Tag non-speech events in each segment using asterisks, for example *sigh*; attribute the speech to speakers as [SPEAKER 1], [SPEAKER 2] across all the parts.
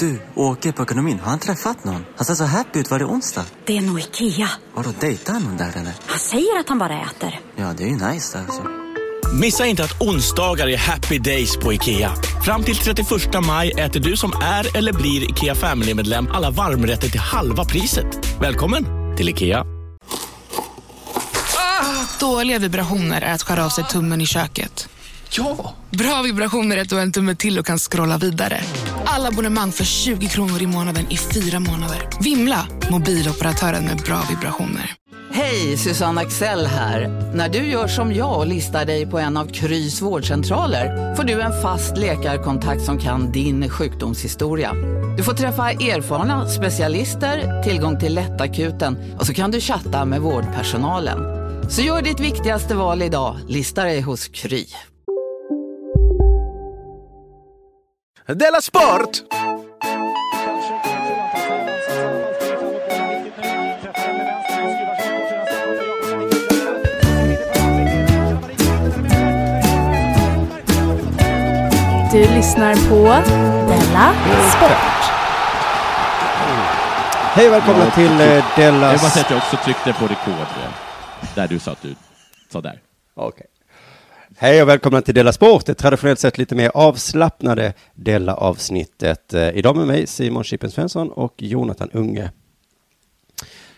[SPEAKER 1] Du, åker på ekonomin. Har han träffat någon? Han ser så happy ut. Var det onsdag?
[SPEAKER 2] Det är nog Ikea.
[SPEAKER 1] Har du dejtat någon där eller?
[SPEAKER 2] Han säger att han bara äter.
[SPEAKER 1] Ja, det är ju nice alltså.
[SPEAKER 3] Missa inte att onsdagar är happy days på IKEA. Fram till 31 maj äter du som är eller blir IKEA Family-medlem alla varmrätter till halva priset. Välkommen till IKEA.
[SPEAKER 4] Dåliga vibrationer är att skära av sig tummen i köket.
[SPEAKER 5] Ja!
[SPEAKER 4] Bra vibrationer är att du har en tumme till och kan scrolla vidare. Alla abonnemang för 20 kronor i månaden i fyra månader. Vimla! Mobiloperatören med bra vibrationer.
[SPEAKER 6] Hej, Susanne Axel här. När du gör som jag och listar dig på en av Krys vårdcentraler får du en fast läkarkontakt som kan din sjukdomshistoria. Du får träffa erfarna specialister, tillgång till lättakuten och så kan du chatta med vårdpersonalen. Så gör ditt viktigaste val idag, listar dig hos Kry.
[SPEAKER 5] Della Sport!
[SPEAKER 7] Du lyssnar på Della Sport.
[SPEAKER 8] Hej och välkomna till eh,
[SPEAKER 9] Jag
[SPEAKER 8] Della
[SPEAKER 9] vill bara säga att jag också tryckte på rekord eh, där du sa att du sa där.
[SPEAKER 8] Okej. Hej och välkomna till Della Sport, det traditionellt sett lite mer avslappnade Della-avsnittet. Eh, Idag med mig Simon Chippen Svensson och Jonathan Unge.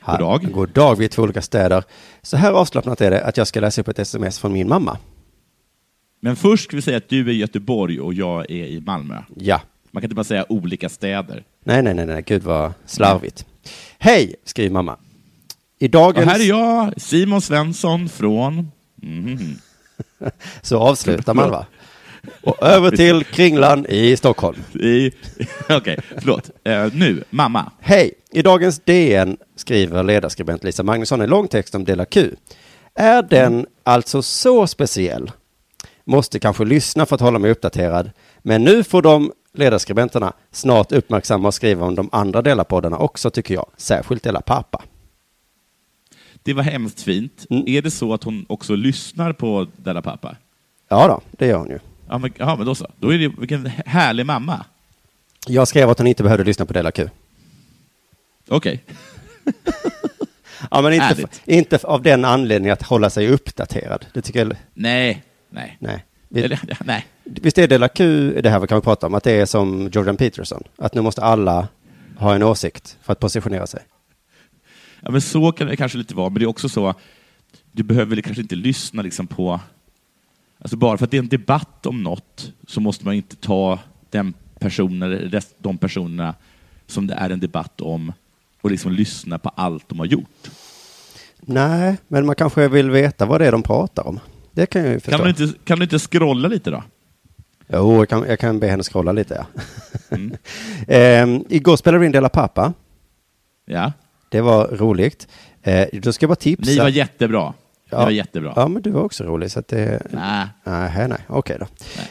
[SPEAKER 8] Här-
[SPEAKER 9] God dag.
[SPEAKER 8] God dag, vi är två olika städer. Så här avslappnat är det att jag ska läsa upp ett sms från min mamma.
[SPEAKER 9] Men först ska vi säga att du är i Göteborg och jag är i Malmö.
[SPEAKER 8] Ja.
[SPEAKER 9] Man kan inte bara säga olika städer.
[SPEAKER 8] Nej, nej, nej, nej, gud vad slarvigt. Hej, skriver mamma. I dagens...
[SPEAKER 9] Och här är jag, Simon Svensson från... Mhm.
[SPEAKER 8] Så avslutar man va? Och över till Kringlan i Stockholm.
[SPEAKER 9] Mm. I... *laughs* Okej, förlåt. Eh, nu, mamma.
[SPEAKER 8] Hej! I dagens DN skriver ledarskribent Lisa Magnusson en lång text om Dela Q. Är den alltså så speciell? Måste kanske lyssna för att hålla mig uppdaterad. Men nu får de ledarskribenterna snart uppmärksamma och skriva om de andra Dela-poddarna också tycker jag. Särskilt Dela Pappa.
[SPEAKER 9] Det var hemskt fint.
[SPEAKER 8] Mm.
[SPEAKER 9] Är det så att hon också lyssnar på Della Pappa?
[SPEAKER 8] Ja då, det gör hon ju.
[SPEAKER 9] Ja, men, ja, men då så. Då är det, vilken härlig mamma.
[SPEAKER 8] Jag skrev att hon inte behövde lyssna på Dela Q.
[SPEAKER 9] Okej.
[SPEAKER 8] Ja, men inte,
[SPEAKER 9] Ärligt.
[SPEAKER 8] f- inte f- av den anledningen att hålla sig uppdaterad. Det tycker jag...
[SPEAKER 9] Nej. Nej.
[SPEAKER 8] Nej. Vi-
[SPEAKER 9] Eller, nej.
[SPEAKER 8] Visst är Dela Q, det här vi kan prata om, att det är som Jordan Peterson, att nu måste alla ha en åsikt för att positionera sig.
[SPEAKER 9] Ja, men så kan det kanske lite vara, men det är också så, du behöver väl kanske inte lyssna liksom på... Alltså bara för att det är en debatt om något så måste man inte ta den personen, eller rest- de personerna som det är en debatt om och liksom lyssna på allt de har gjort.
[SPEAKER 8] Nej, men man kanske vill veta vad det är de pratar om. Det kan jag ju förstå.
[SPEAKER 9] Kan du, inte, kan du inte scrolla lite då?
[SPEAKER 8] Jo, jag kan, jag kan be henne scrolla lite. Ja.
[SPEAKER 9] Mm.
[SPEAKER 8] *laughs* Ehm, igår spelade vi in Dela Pappa.
[SPEAKER 9] Ja.
[SPEAKER 8] Det var roligt. Eh, då ska jag bara tipsa.
[SPEAKER 9] Ni var jättebra.
[SPEAKER 8] ja.
[SPEAKER 9] Ni var jättebra.
[SPEAKER 8] Ja, men du var också rolig. Så att det...
[SPEAKER 9] Nej.
[SPEAKER 8] Nej, hej, nej. Okej då.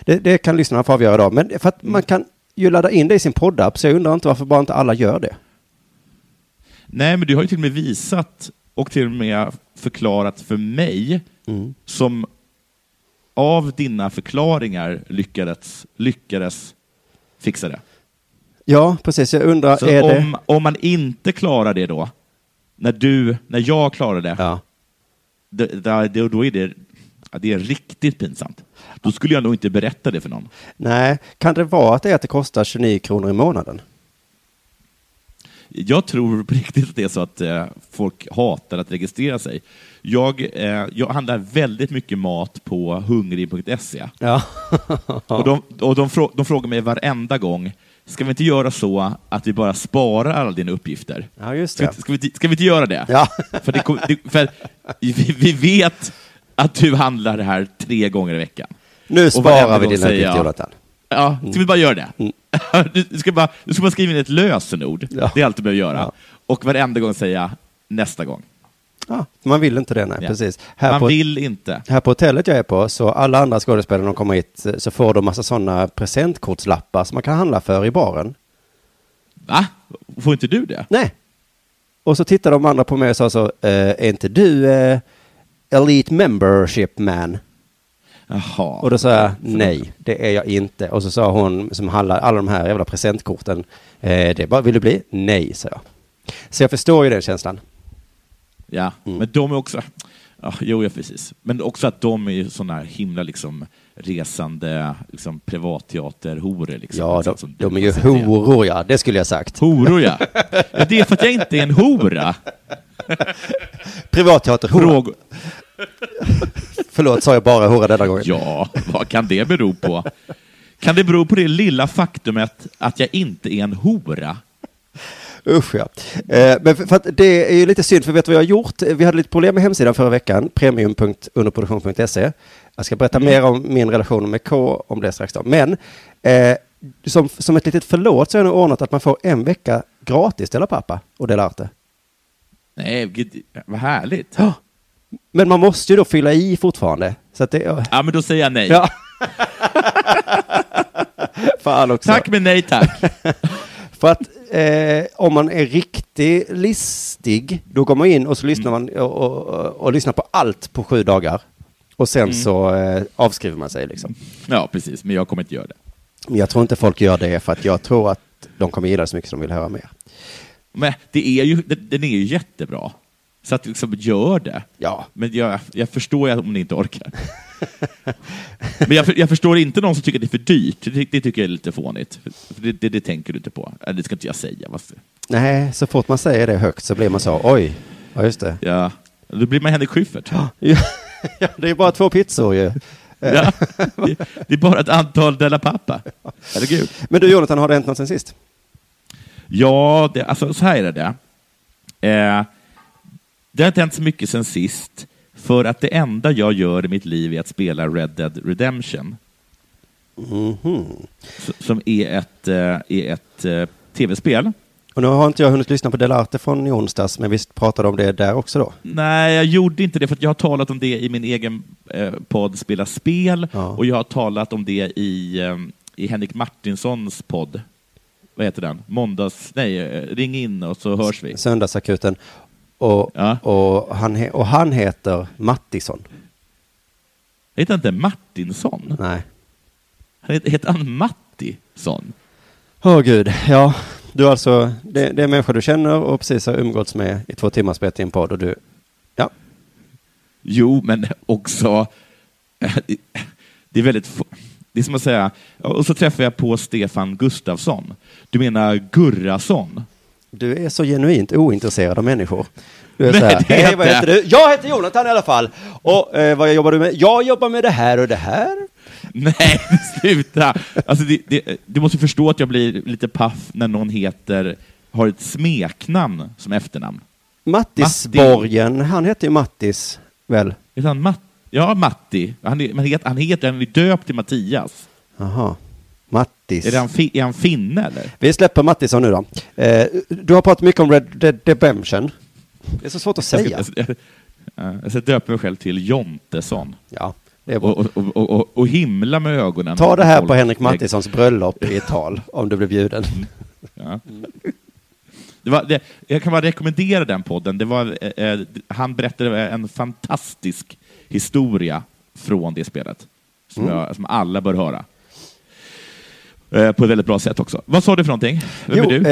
[SPEAKER 8] Det, det kan lyssnarna få avgöra då. Men för att
[SPEAKER 9] Mm.
[SPEAKER 8] man kan ju ladda in det i sin poddapp, så jag undrar inte varför bara inte alla gör det.
[SPEAKER 9] Nej, men du har ju till och med visat och till och med förklarat för mig
[SPEAKER 8] Mm.
[SPEAKER 9] som av dina förklaringar lyckades, lyckades fixa det.
[SPEAKER 8] Ja, precis. Jag undrar,
[SPEAKER 9] Så
[SPEAKER 8] är det...
[SPEAKER 9] om, om man inte klarar det då, när, du, när jag klarar det,
[SPEAKER 8] Ja.
[SPEAKER 9] det, det, det- då är det, ja, det är riktigt pinsamt. Då skulle jag nog inte berätta det för någon.
[SPEAKER 8] Nej, kan det vara att det är att det kostar 29 kronor i månaden?
[SPEAKER 9] Jag tror på riktigt att det är så att eh, folk hatar att registrera sig. Jag, eh, jag handlar väldigt mycket mat på hungrig.se.
[SPEAKER 8] Ja.
[SPEAKER 9] Och, *laughs* de, och de, frå, de frågar mig varenda gång, ska vi inte göra så att vi bara sparar alla dina uppgifter?
[SPEAKER 8] Ja, just
[SPEAKER 9] Ska,
[SPEAKER 8] det.
[SPEAKER 9] vi, ska, vi, inte- ska vi inte göra det?
[SPEAKER 8] Ja.
[SPEAKER 9] *laughs* För, det, kom- det, för vi, vi vet att du handlar det här tre gånger i veckan.
[SPEAKER 8] Nu
[SPEAKER 9] varenda
[SPEAKER 8] sparar vi
[SPEAKER 9] gång
[SPEAKER 8] dina
[SPEAKER 9] säger
[SPEAKER 8] uppgifter,
[SPEAKER 9] jag-
[SPEAKER 8] Jonathan. Mm.
[SPEAKER 9] Ja, ska vi bara göra det? *laughs* Du, ska bara, du ska bara skriva in ett lösenord,
[SPEAKER 8] Ja.
[SPEAKER 9] det är allt du behöver göra.
[SPEAKER 8] Ja.
[SPEAKER 9] Och varenda gång säga nästa gång.
[SPEAKER 8] Ja, man vill inte det, nej.
[SPEAKER 9] Ja.
[SPEAKER 8] Precis. Här
[SPEAKER 9] Man
[SPEAKER 8] på,
[SPEAKER 9] vill inte.
[SPEAKER 8] här på hotellet jag är på, så alla andra skådespelare när de kommer hit, så får de massa sådana presentkortslappar som man kan handla för i baren.
[SPEAKER 9] Va? Får inte du det?
[SPEAKER 8] Nej. Och så tittade de andra på mig och sa så, eh, är inte du eh, Elite Membership Man?
[SPEAKER 9] Jaha.
[SPEAKER 8] Och då sa jag nej, det är jag inte. Och så sa hon som handlar alla de här jävla presentkorten, eh, det är bara, vill du bli? Nej, sa jag. Så jag förstår ju den känslan.
[SPEAKER 9] Ja,
[SPEAKER 8] Mm.
[SPEAKER 9] men de är också... Ja, jo, ja, precis. Men också att de är ju såna här himla liksom, resande liksom, privatteaterhoror. Liksom,
[SPEAKER 8] Ja,
[SPEAKER 9] Alltså,
[SPEAKER 8] de,
[SPEAKER 9] som-
[SPEAKER 8] de är ju
[SPEAKER 9] alltså, det-
[SPEAKER 8] horor ja, det skulle jag sagt. *laughs*
[SPEAKER 9] Horor, ja. ja. Det är för att jag inte är en hora.
[SPEAKER 8] Privatteaterhora.
[SPEAKER 9] Frågor.
[SPEAKER 8] Förlåt, sa jag bara hora denna gången?
[SPEAKER 9] Ja, vad kan det bero på? Kan det bero på det lilla faktumet att jag inte är en hora?
[SPEAKER 8] Usch ja. Eh, men för, för att det är ju lite synd, för vet du vad jag har gjort? Vi hade lite problem med hemsidan förra veckan, premium.underproduktion.se. Jag ska berätta mer om min relation med K om det strax då. Men eh, som, som ett litet förlåt så har jag nu ordnat att man får en vecka gratis Dela Pappa och Dela Arte.
[SPEAKER 9] Nej, gud, vad härligt.
[SPEAKER 8] Ja. Men man måste ju då fylla i fortfarande. Så att det, ja.
[SPEAKER 9] Ja, men då säger jag nej.
[SPEAKER 8] ja. *laughs* Fan också.
[SPEAKER 9] Tack, men nej tack.
[SPEAKER 8] För att eh, om man är riktigt listig, då går man in och så lyssnar man och, och, och, och lyssnar på allt på sju dagar. Och sen så eh, avskriver man sig liksom.
[SPEAKER 9] Ja, precis, men jag kommer inte göra det.
[SPEAKER 8] Men jag tror inte folk gör det för att jag tror att de kommer gilla det så mycket som de vill höra mer.
[SPEAKER 9] Men det är ju, den den är ju jättebra. Så att liksom, gör det.
[SPEAKER 8] Ja.
[SPEAKER 9] Men jag, jag förstår ju om ni inte orkar. *laughs* Men jag, för, jag förstår inte någon som tycker att det är för dyrt. Det, det tycker jag är lite fånigt. För det, det, det tänker du inte på. Eller, Det ska inte jag säga. vad ska-
[SPEAKER 8] Nej, så fort man säger det högt så blir man så, oj, ja just det.
[SPEAKER 9] Ja. Då blir man Henrik Schyffert.
[SPEAKER 8] Ja, *laughs* det är bara två pizzor ju.
[SPEAKER 9] Ja. Det, det är bara ett antal Della Pappa. Herregud.
[SPEAKER 8] Men du Jonathan, har det hänt något sen sist?
[SPEAKER 9] Ja, det, alltså så här är det. Eh, det har inte hänt så mycket sen sist, för att det enda jag gör i mitt liv är att spela Red Dead Redemption. S- Som är ett, eh, är ett eh, tv-spel.
[SPEAKER 8] Och nu har inte jag hunnit lyssna på Dela Arte från i onsdags, men visst pratade om det där också då?
[SPEAKER 9] Nej, jag gjorde inte det, för att jag har talat om det i min egen eh, podd Spela spel,
[SPEAKER 8] Ja.
[SPEAKER 9] och jag har talat om det i, eh, i Henrik Martinssons podd. Vad heter den? Måndags... Nej, eh, ring in och så hörs vi.
[SPEAKER 8] Söndagsakuten. Och,
[SPEAKER 9] Ja.
[SPEAKER 8] och, han, he- och han heter Mattisson.
[SPEAKER 9] Jag heter inte Martinsson?
[SPEAKER 8] Nej.
[SPEAKER 9] Han heter, heter han Mattisson?
[SPEAKER 8] Åh gud, ja. Du är alltså, det, det är människor du känner och precis har umgåtts med i två timmar spelat i en podd och du, ja.
[SPEAKER 9] Jo, men också... Det är väldigt... få- Det är som att säga... Och så träffar jag på Stefan Gustafsson. Du menar Gurrason?
[SPEAKER 8] Du är så genuint ointresserad av människor. Du är
[SPEAKER 9] Nej,
[SPEAKER 8] så här,
[SPEAKER 9] det är
[SPEAKER 8] hej vad
[SPEAKER 9] inte.
[SPEAKER 8] heter du? Jag heter Jonathan i alla fall. Och eh, vad jobbar du med? Jag jobbar med det här och det här.
[SPEAKER 9] Nej, *laughs* sluta! Alltså, det, det, du måste förstå att jag blir lite paff när någon heter, har ett smeknamn som efternamn.
[SPEAKER 8] Mattisborgen, han heter ju Mattis, väl?
[SPEAKER 9] Heter han Matt, ja, Matti. Han är, men het, han heter, han är döpt till Mattias.
[SPEAKER 8] Jaha. Mattis.
[SPEAKER 9] Är, det han, fi- är han finne, eller?
[SPEAKER 8] Vi släpper Mattisson nu då. Eh, du har pratat mycket om Red Dead Redemption. Det är så svårt att säga.
[SPEAKER 9] Jag, ska, *laughs* jag, jag, jag ska döpa mig själv till Jontesson.
[SPEAKER 8] Ja, det är bra.
[SPEAKER 9] Och, och, och, och, och himla med ögonen.
[SPEAKER 8] Ta det här på
[SPEAKER 9] Folk-
[SPEAKER 8] Henrik Mattissons bröllop i ett tal, om du blir bjuden.
[SPEAKER 9] Ja. Det var, det, jag kan bara rekommendera den podden. Det var, eh, eh, han berättade en fantastisk historia från det spelet, som,
[SPEAKER 8] Mm.
[SPEAKER 9] jag, som alla bör höra. Eh, på ett väldigt bra sätt också. Vad sa du för någonting? Vem är du?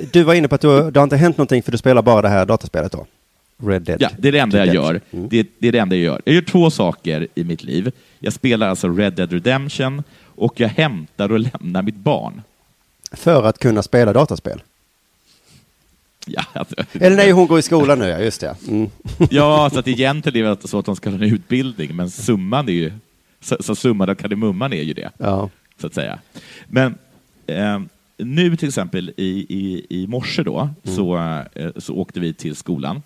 [SPEAKER 8] Eh, du var inne på att du, det har inte hänt någonting för du spelar bara det här dataspelet då? Red Dead.
[SPEAKER 9] Ja, det är det enda jag
[SPEAKER 8] Redemption.
[SPEAKER 9] gör. Det, det är det enda jag gör. Jag gör två saker i mitt liv. Jag spelar alltså Red Dead Redemption och jag hämtar och lämnar mitt barn.
[SPEAKER 8] För att kunna spela dataspel.
[SPEAKER 9] Ja, alltså.
[SPEAKER 8] Eller nej, hon går i skolan nu, ja, just det. Mm.
[SPEAKER 9] Ja, så att egentligen är det så att de ska ha en utbildning, men summan är ju, så, så summan av kardemumman är ju det,
[SPEAKER 8] Ja.
[SPEAKER 9] så att säga. Men eh, nu till exempel i, i, i morse då, så, eh, så åkte vi till skolan.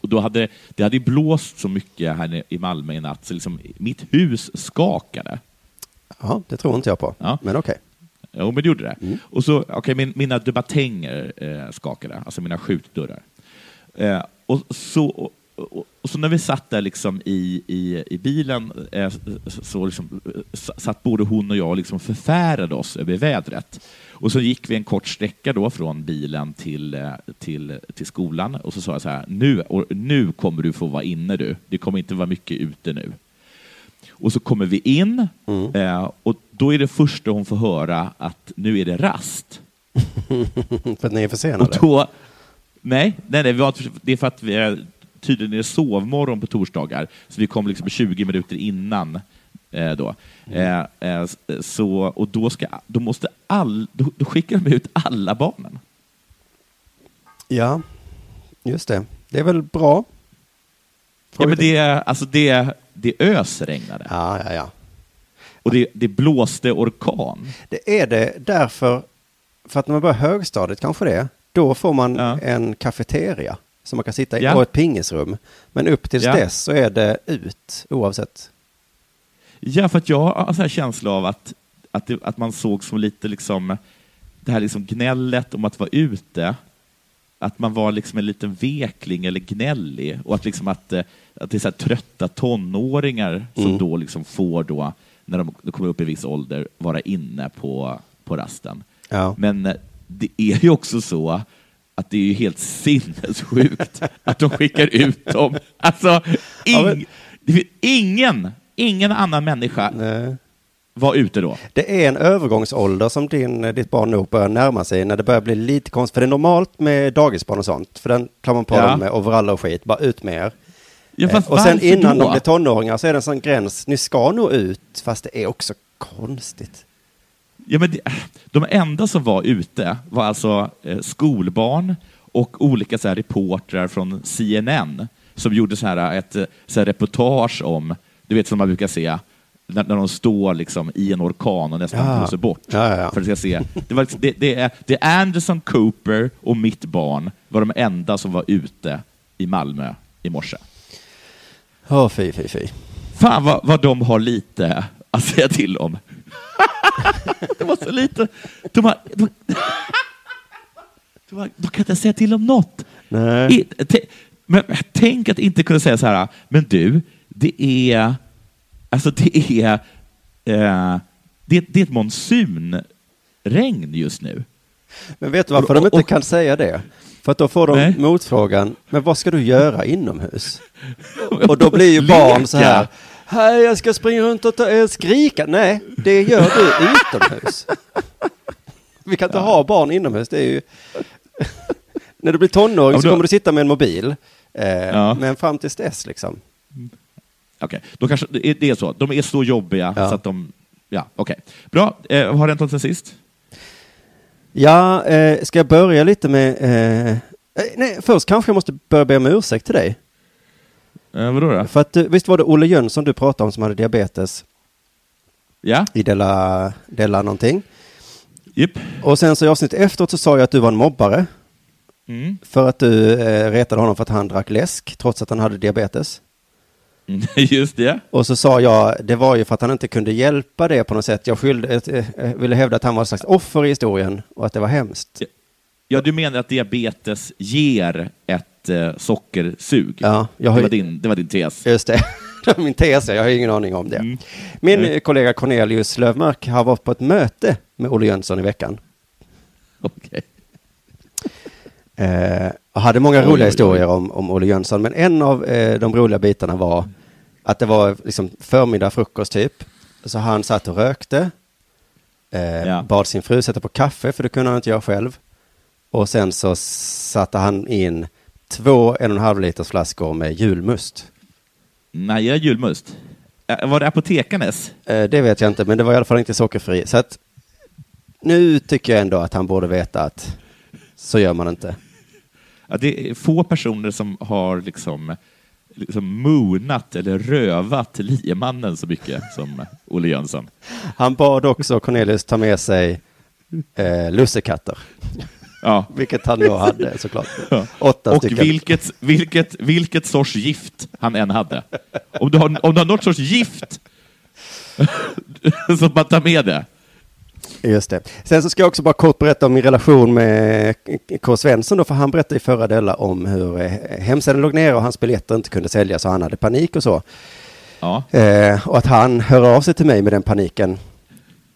[SPEAKER 9] Och då hade, det hade ju blåst så mycket här nere i Malmö i natt, så liksom, mitt hus skakade.
[SPEAKER 8] ja, det tror inte jag på.
[SPEAKER 9] Ja.
[SPEAKER 8] Men okej. *laughs*
[SPEAKER 9] Jo, men det gjorde det. Och så, okay, min, mina debattänger eh, skakade, alltså mina skjutdörrar. Eh, och, så, och, och, och så när vi satt där liksom i, i, i bilen eh, så liksom, eh, s- satt både hon och jag liksom förfärade oss över vädret. Och så gick vi en kort sträcka då från bilen till, eh, till, till skolan och så sa jag så här, nu, och, nu kommer du få vara inne du. Det kommer inte vara mycket ute nu. Och så kommer vi in eh, och då är det första hon får höra att nu är det rast.
[SPEAKER 8] För att ni är försenade.
[SPEAKER 9] Och då, nej, nej, nej vi har, det är för att vi är, tydligen är det sovmorgon på torsdagar, så vi kom liksom 20 minuter innan. Eh, då. Eh, eh, s- så, och då, ska, då, måste all, då, då skickar de ut alla barnen.
[SPEAKER 8] Ja, just det. Det är väl bra?
[SPEAKER 9] Ja, men det, alltså det, det ösregnade
[SPEAKER 8] ja, ja, ja.
[SPEAKER 9] och det, det blåste orkan.
[SPEAKER 8] Det är det därför, för att när man börjar högstadiet kanske det, är, då får man
[SPEAKER 9] Ja.
[SPEAKER 8] en kafeteria som man kan sitta i
[SPEAKER 9] Ja.
[SPEAKER 8] och ett pingisrum. Men upp tills
[SPEAKER 9] Ja.
[SPEAKER 8] dess så är det ut oavsett.
[SPEAKER 9] Ja, för att jag har en sån här känsla av att, att, det, att man såg som lite liksom det här liksom gnället om att vara ute, att man var liksom en liten vekling eller gnällig och att, liksom att, eh, att det är så här trötta tonåringar som
[SPEAKER 8] Mm.
[SPEAKER 9] då liksom får då, när de kommer upp i viss ålder, vara inne på, på rasten.
[SPEAKER 8] Ja.
[SPEAKER 9] Men eh, det är ju också så att det är ju helt sinnessjukt
[SPEAKER 8] *laughs*
[SPEAKER 9] att de skickar ut dem. Alltså, ing,
[SPEAKER 8] Ja, men-
[SPEAKER 9] det finns ingen, ingen annan människa
[SPEAKER 8] Eh,
[SPEAKER 9] var ute då.
[SPEAKER 8] Det är en övergångsålder som din, eh, ditt barn nog börjar närma sig när det börjar bli lite konstigt. För det är normalt med dagisbarn och sånt, för den klarar man på
[SPEAKER 9] Ja.
[SPEAKER 8] dem med overaller och skit, bara ut med er.
[SPEAKER 9] Ja, fast
[SPEAKER 8] Eh, och sen
[SPEAKER 9] varför
[SPEAKER 8] innan
[SPEAKER 9] då?
[SPEAKER 8] de blir tonåringar så är det en sån gräns, ni ska nog ut, fast det är också konstigt.
[SPEAKER 9] ja, men det, de enda som var ute var alltså eh, skolbarn och olika så här, reportrar från CNN som gjorde så här, ett eh, så här, reportage om, du vet som man brukar se, när, när de står liksom i en orkan och nästan
[SPEAKER 8] Ja.
[SPEAKER 9] blåser bort.
[SPEAKER 8] Ja, ja, ja.
[SPEAKER 9] För att jag ska se. Det, var, liksom- det, det, är, det är Anderson Cooper och mitt barn var de enda som var ute i Malmö i morse.
[SPEAKER 8] Åh, fy, fy, fy.
[SPEAKER 9] Fan vad, vad de har lite att säga till om. *laughs* de har så lite. De, har, de, de, har, de kan inte säga till om något.
[SPEAKER 8] Nej.
[SPEAKER 9] I, te, men tänk att inte kunna säga så här, men du, det är, alltså det är, eh, det, det är ett monsunregn just nu.
[SPEAKER 8] Men vet du varför
[SPEAKER 9] Och-
[SPEAKER 8] de inte
[SPEAKER 9] och-
[SPEAKER 8] kan säga det? För att då får de
[SPEAKER 9] Nej.
[SPEAKER 8] motfrågan, men vad ska du göra inomhus? *laughs*
[SPEAKER 9] *laughs*
[SPEAKER 8] Och då blir ju barn så här,
[SPEAKER 9] Leka.
[SPEAKER 8] hej jag ska springa runt och ta, eh, skrika. Nej, det gör du utomhus. *laughs* Vi kan inte ha barn inomhus, det är ju... *laughs* När du blir tonåring
[SPEAKER 9] Ja,
[SPEAKER 8] så
[SPEAKER 9] då-
[SPEAKER 8] kommer du sitta med en mobil. Eh,
[SPEAKER 9] Ja.
[SPEAKER 8] Men fram tills dess liksom.
[SPEAKER 9] Okej, då kanske det är- det är så. De är så jobbiga
[SPEAKER 8] Ja.
[SPEAKER 9] så att de, ja, okej. Bra, eh, har det hänt något sen sist?
[SPEAKER 8] Ja, eh, ska jag börja lite med... Eh, eh, nej, först kanske jag måste börja be om ursäkt till dig.
[SPEAKER 9] Eh, vadå då?
[SPEAKER 8] För att du- visst var det Olle Jönsson du pratade om som hade diabetes
[SPEAKER 9] Ja,
[SPEAKER 8] i Della, Della någonting.
[SPEAKER 9] Japp.
[SPEAKER 8] Och sen så i avsnittet efteråt så sa jag att du var en mobbare
[SPEAKER 9] Mm.
[SPEAKER 8] för att du eh, retade honom för att han drack läsk trots att han hade diabetes.
[SPEAKER 9] Mm, *laughs* Just det.
[SPEAKER 8] Och så sa jag, det var ju för att han inte kunde hjälpa det på något sätt. Jag skyllde, eh, eh, ville hävda att han var en slags offer i historien och att det var hemskt.
[SPEAKER 9] Ja, du menar att diabetes ger ett eh, sockersug?
[SPEAKER 8] Ja, jag har ju-
[SPEAKER 9] det, var din, det var
[SPEAKER 8] *laughs*
[SPEAKER 9] din tes.
[SPEAKER 8] Just det. Det var Min tes, jag har ingen aning om det. Min eh, kollega Cornelius Lövmark har varit på ett möte med Olle Jönsson i veckan.
[SPEAKER 9] Okej.
[SPEAKER 8] Eh, och hade många
[SPEAKER 9] Oj,
[SPEAKER 8] roliga
[SPEAKER 9] oj, oj.
[SPEAKER 8] historier om, om Olle Jönsson, men en av eh, de roliga bitarna var att det var liksom förmiddag, frukost typ. Så han satt och rökte, eh,
[SPEAKER 9] Ja.
[SPEAKER 8] bad sin fru sätta på kaffe, för det kunde han inte göra själv. Och sen så satte han in två en och en halv liters flaskor med julmust.
[SPEAKER 9] Nej, jag är julmust. Eh, Var det apotekarnes?
[SPEAKER 8] Eh, det vet jag inte, men det var i alla fall inte sockerfri. Så att nu tycker jag ändå att han borde veta att så gör man inte.
[SPEAKER 9] Ja, det är få personer som har liksom, liksom moonat eller rövat liemannen så mycket som Olle Jönsson.
[SPEAKER 8] Han bad också Cornelius ta med sig eh, lussekatter,
[SPEAKER 9] Ja.
[SPEAKER 8] vilket han då hade såklart.
[SPEAKER 9] Ja.
[SPEAKER 8] Åtta
[SPEAKER 9] och
[SPEAKER 8] stycken.
[SPEAKER 9] vilket, vilket, vilket sorts gift han än hade. Om du har, om du har något sorts gift, *laughs* så bara ta med det.
[SPEAKER 8] Just det. Sen så ska jag också bara kort berätta om min relation med K. Svensson då, för han berättade i förra delen om hur eh, hemsidan låg ner och hans biljetter inte kunde säljas och han hade panik och så.
[SPEAKER 9] Ja.
[SPEAKER 8] Eh, och att han hör av sig till mig med den paniken.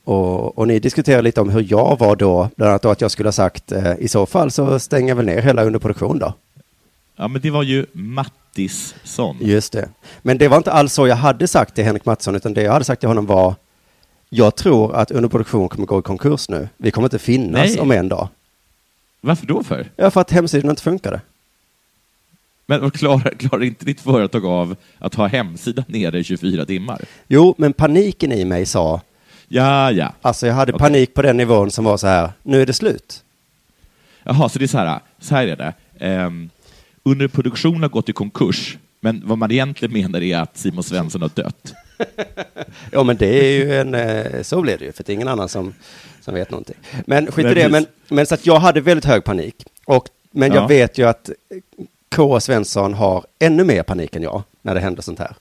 [SPEAKER 8] Och, och ni diskuterar lite om hur jag var då, bland annat då att jag skulle ha sagt eh, i så fall så stänger jag väl ner hela underproduktion då.
[SPEAKER 9] Ja, men det var ju Mattisson.
[SPEAKER 8] Just det. Men det var inte alls så jag hade sagt till Henrik Mattsson, utan det jag hade sagt till honom var jag tror att underproduktion kommer gå i konkurs nu. Vi kommer inte finnas
[SPEAKER 9] Nej.
[SPEAKER 8] om en dag.
[SPEAKER 9] Varför då för?
[SPEAKER 8] Ja, för att hemsidan inte funkade.
[SPEAKER 9] Men och klarar, klarar inte ditt företag av att ha hemsidan nere i 24 timmar?
[SPEAKER 8] Jo, men paniken i mig sa,
[SPEAKER 9] Ja, ja.
[SPEAKER 8] alltså jag hade
[SPEAKER 9] Okej.
[SPEAKER 8] panik på den nivån som var så här, nu är det slut.
[SPEAKER 9] Jaha, så det är så här, så här är det. Um, underproduktion har gått i konkurs, men vad man egentligen menar är att Simon Svensson har dött.
[SPEAKER 8] Ja, men det är ju en, eh, så blev det ju, för det är ingen annan som, som vet någonting. Men skit i
[SPEAKER 9] Nej,
[SPEAKER 8] det,
[SPEAKER 9] precis.
[SPEAKER 8] men, men så att jag hade väldigt hög panik. Och, men jag
[SPEAKER 9] Ja.
[SPEAKER 8] vet ju att K. Svensson har ännu mer panik än jag när det händer sånt här.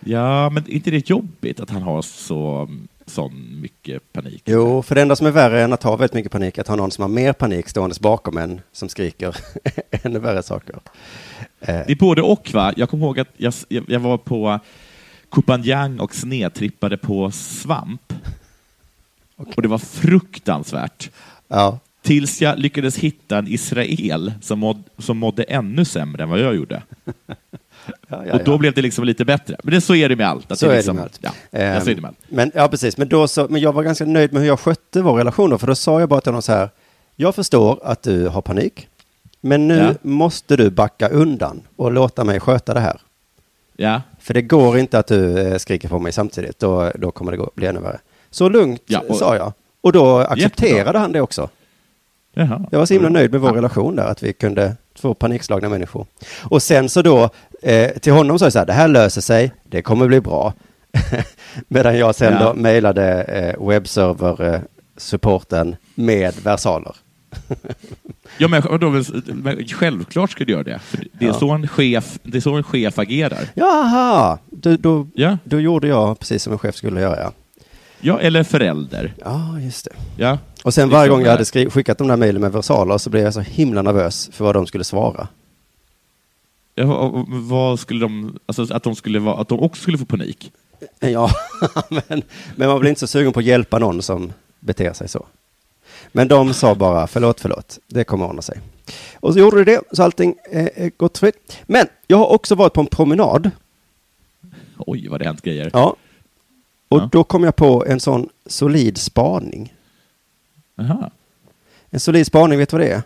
[SPEAKER 9] Ja, men är inte det jobbigt att han har så mm, sån mycket panik?
[SPEAKER 8] Jo, för det enda som är värre än att ha väldigt mycket panik är att ha någon som har mer panik ståendes bakom en som skriker *laughs* ännu värre saker.
[SPEAKER 9] Det är både och, va? Jag kommer ihåg att jag, jag, jag var på Kopanjang och snedtrippade på svamp. Och det var fruktansvärt.
[SPEAKER 8] Ja,
[SPEAKER 9] Tills jag lyckades hitta en israel som, måd, som mådde ännu sämre än vad jag gjorde.
[SPEAKER 8] ja,
[SPEAKER 9] och då blev det liksom lite bättre. Men det, så är det med allt. Att
[SPEAKER 8] så är
[SPEAKER 9] det
[SPEAKER 8] det
[SPEAKER 9] liksom,
[SPEAKER 8] med allt.
[SPEAKER 9] Ja,
[SPEAKER 8] Ehm,
[SPEAKER 9] ja, så är det med allt.
[SPEAKER 8] Men, ja, precis. Men, då så, men jag var ganska nöjd med hur jag skötte vår relation då, för då sa jag bara till honom så här, jag förstår att du har panik, men nu
[SPEAKER 9] Ja.
[SPEAKER 8] måste du backa undan och låta mig sköta det här.
[SPEAKER 9] Ja.
[SPEAKER 8] För det går inte att du eh, skriker på mig samtidigt, då, då kommer det gå, bli ännu värre. Så lugnt,
[SPEAKER 9] Ja, och-
[SPEAKER 8] sa jag. Och då accepterade
[SPEAKER 9] Jättebra.
[SPEAKER 8] han det också.
[SPEAKER 9] Jaha.
[SPEAKER 8] Jag var så himla nöjd med vår relation där, att vi kunde, två panikslagna människor. Och sen så då, eh, till honom sa jag så här, det här löser sig, det kommer bli bra. *laughs* Medan jag sen
[SPEAKER 9] Ja.
[SPEAKER 8] då mejlade eh, webbserver-supporten med versaler.
[SPEAKER 9] Ja, men, jag- då, men självklart ska du göra det. För det, är
[SPEAKER 8] Ja.
[SPEAKER 9] så en chef, det är så en chef agerar.
[SPEAKER 8] Jaha, då, då,
[SPEAKER 9] Ja.
[SPEAKER 8] då gjorde jag precis som en chef skulle göra, ja.
[SPEAKER 9] Ja, eller förälder.
[SPEAKER 8] Ja, just det.
[SPEAKER 9] Ja.
[SPEAKER 8] Och sen
[SPEAKER 9] Det är
[SPEAKER 8] varje
[SPEAKER 9] så
[SPEAKER 8] gång jag
[SPEAKER 9] det är.
[SPEAKER 8] hade skri- skickat de där mejlen med versaler så blev jag så himla nervös för vad de skulle svara.
[SPEAKER 9] Ja, och- och Vad skulle de, alltså att de, skulle vara, att de också skulle få panik?
[SPEAKER 8] *laughs* Ja, men, men man blir inte så sugen på att hjälpa någon som beter sig så. Men de sa bara förlåt, förlåt, det kommer ordna sig. Och så gjorde de det, så allting eh, eh, gått fritt. Men jag har också varit på en promenad.
[SPEAKER 9] Oj, vad det hänt grejer.
[SPEAKER 8] Ja. Och
[SPEAKER 9] Ja.
[SPEAKER 8] då kom jag på en sån solid spaning.
[SPEAKER 9] Aha.
[SPEAKER 8] En solid spaning, vet du vad det är?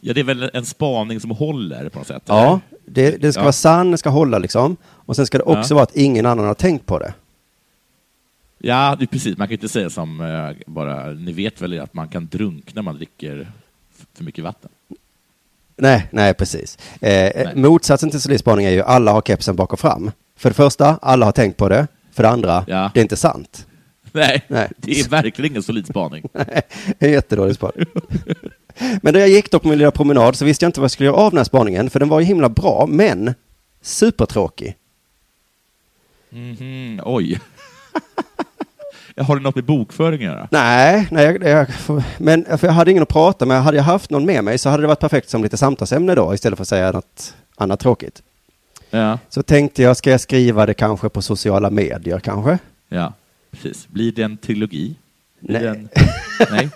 [SPEAKER 9] Ja, det är väl en spaning som håller på något sätt?
[SPEAKER 8] Ja, det, det ska
[SPEAKER 9] Ja.
[SPEAKER 8] vara sann, det ska hålla liksom. Och sen ska det också
[SPEAKER 9] Ja.
[SPEAKER 8] vara att ingen annan har tänkt på det.
[SPEAKER 9] Ja, det är precis. Man kan ju inte säga som eh, bara, ni vet väl att man kan drunkna när man dricker f- för mycket vatten? *laughs*
[SPEAKER 8] Nej, nej precis. Eh, eh, Motsatsen till solidsspaning är ju alla har kepsen bak och fram. För det första, alla har tänkt på det. För det andra,
[SPEAKER 9] Ja.
[SPEAKER 8] det är inte sant. *laughs*
[SPEAKER 9] Nej,
[SPEAKER 8] Nej.
[SPEAKER 9] det är verkligen ingen solid spaning.
[SPEAKER 8] En jättedålig spaning. men när jag gick då på min lilla promenad så visste jag inte vad jag skulle göra av den här spaningen. För den var ju himla bra, men supertråkig.
[SPEAKER 9] Mhm, oj. *laughs* Har det något med bokföring att göra?
[SPEAKER 8] Nej, nej jag, jag, men för jag hade ingen att prata med. Hade jag haft någon med mig så hade det varit perfekt som lite samtalsämne då, istället för att säga något annat tråkigt.
[SPEAKER 9] Ja,
[SPEAKER 8] Så tänkte jag, ska jag skriva det kanske på sociala medier kanske?
[SPEAKER 9] ja precis. Blir det en trilogi? Blir
[SPEAKER 8] Nej. *laughs*
[SPEAKER 9] det En... Nej.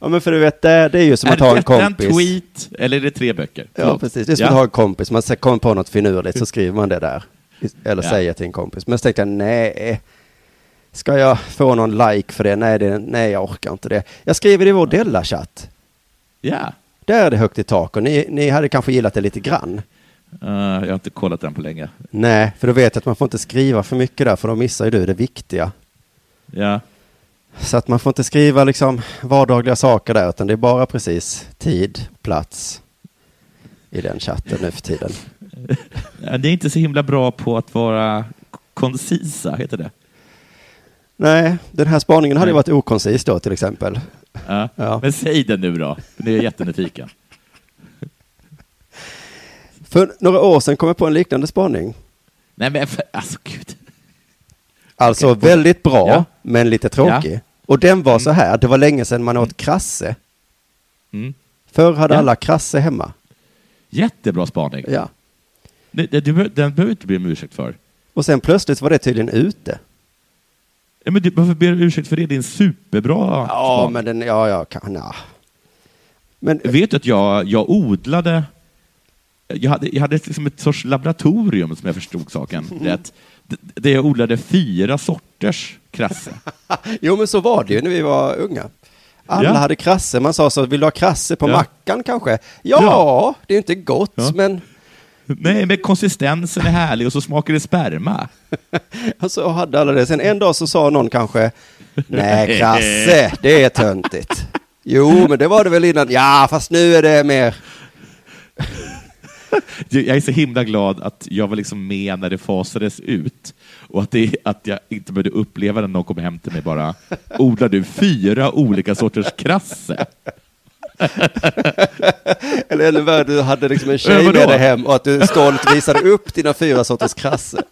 [SPEAKER 8] Ja, men för du vet, det, det är ju som
[SPEAKER 9] är
[SPEAKER 8] att ha en
[SPEAKER 9] detta
[SPEAKER 8] kompis.
[SPEAKER 9] en tweet eller är det tre böcker?
[SPEAKER 8] Ja,
[SPEAKER 9] Förlåt.
[SPEAKER 8] precis. Det är som
[SPEAKER 9] Ja.
[SPEAKER 8] att ha en kompis. Man ska- kommer på något finurligt
[SPEAKER 9] *laughs*
[SPEAKER 8] så skriver man det där. Eller
[SPEAKER 9] Ja.
[SPEAKER 8] säger till en kompis. Men så tänkte jag, nej. Ska jag få någon like för det? Nej, det, nej jag orkar inte det. Jag skriver det i vår Della-chatt.
[SPEAKER 9] Ja.
[SPEAKER 8] Där är det högt i tak och ni, ni hade kanske gillat det lite grann.
[SPEAKER 9] Eh, jag har inte kollat den på länge.
[SPEAKER 8] Nej, för då vet jag att man får inte skriva för mycket där, för då missar ju du det viktiga.
[SPEAKER 9] Ja.
[SPEAKER 8] Så att man får inte skriva liksom vardagliga saker där, utan det är bara precis tid, plats i den chatten nu för tiden.
[SPEAKER 9] Ja, Ni är inte så himla bra på att vara k- koncisa, heter det?
[SPEAKER 8] Nej, den här spaningen hade ju
[SPEAKER 9] Nej.
[SPEAKER 8] varit okoncis då till exempel.
[SPEAKER 9] Ja.
[SPEAKER 8] Ja.
[SPEAKER 9] Men säg den nu då, nu är jag jättenyfiken.
[SPEAKER 8] För några år sedan kom jag på en liknande spaning.
[SPEAKER 9] Nej men för, alltså gud.
[SPEAKER 8] Alltså
[SPEAKER 9] Okej.
[SPEAKER 8] väldigt bra,
[SPEAKER 9] Ja.
[SPEAKER 8] men lite tråkig. Och den var så här, det var länge sedan man åt krasse.
[SPEAKER 9] Mm.
[SPEAKER 8] Förr hade
[SPEAKER 9] Ja.
[SPEAKER 8] alla krasse hemma.
[SPEAKER 9] Jättebra spaning.
[SPEAKER 8] Ja.
[SPEAKER 9] Du, du, du, den behöver du inte be om ursäkt för.
[SPEAKER 8] Och sen plötsligt var det tydligen ute.
[SPEAKER 9] Ja, men du, varför ber du om ursäkt för det? Det är en superbra
[SPEAKER 8] Ja,
[SPEAKER 9] spaning.
[SPEAKER 8] men den, ja, ja, kan, ja. Men
[SPEAKER 9] Vet du att jag, jag odlade... Jag hade, jag hade liksom ett sorts laboratorium, som jag förstod saken rätt, d- där jag odlade fyra sorters krasse.
[SPEAKER 8] *laughs* Jo, men så var det ju när vi var unga. Alla
[SPEAKER 9] Ja.
[SPEAKER 8] hade krasse. Man sa så, vill du ha krasse på
[SPEAKER 9] Ja.
[SPEAKER 8] mackan kanske? Ja,
[SPEAKER 9] Ja.
[SPEAKER 8] det är ju inte gott,
[SPEAKER 9] Ja.
[SPEAKER 8] men
[SPEAKER 9] Nej, men konsistensen är härlig och så smakar det sperma.
[SPEAKER 8] *laughs* alltså, hade alla det. Sen en dag så sa någon kanske, nej, krasse, det är töntigt. Jo, men det var det väl innan. Ja, fast nu är det mer.
[SPEAKER 9] Jag jag är så himla glad att jag var liksom med när det fasades ut och att, det, att jag inte behövde uppleva det när någon kom hem till mig bara odlar du fyra olika sorters krasse?
[SPEAKER 8] Eller ännu värre, du hade liksom en
[SPEAKER 9] Ja,
[SPEAKER 8] tjej
[SPEAKER 9] vadå?
[SPEAKER 8] med dig hem och att du stolt visade upp dina fyra sorters krasse.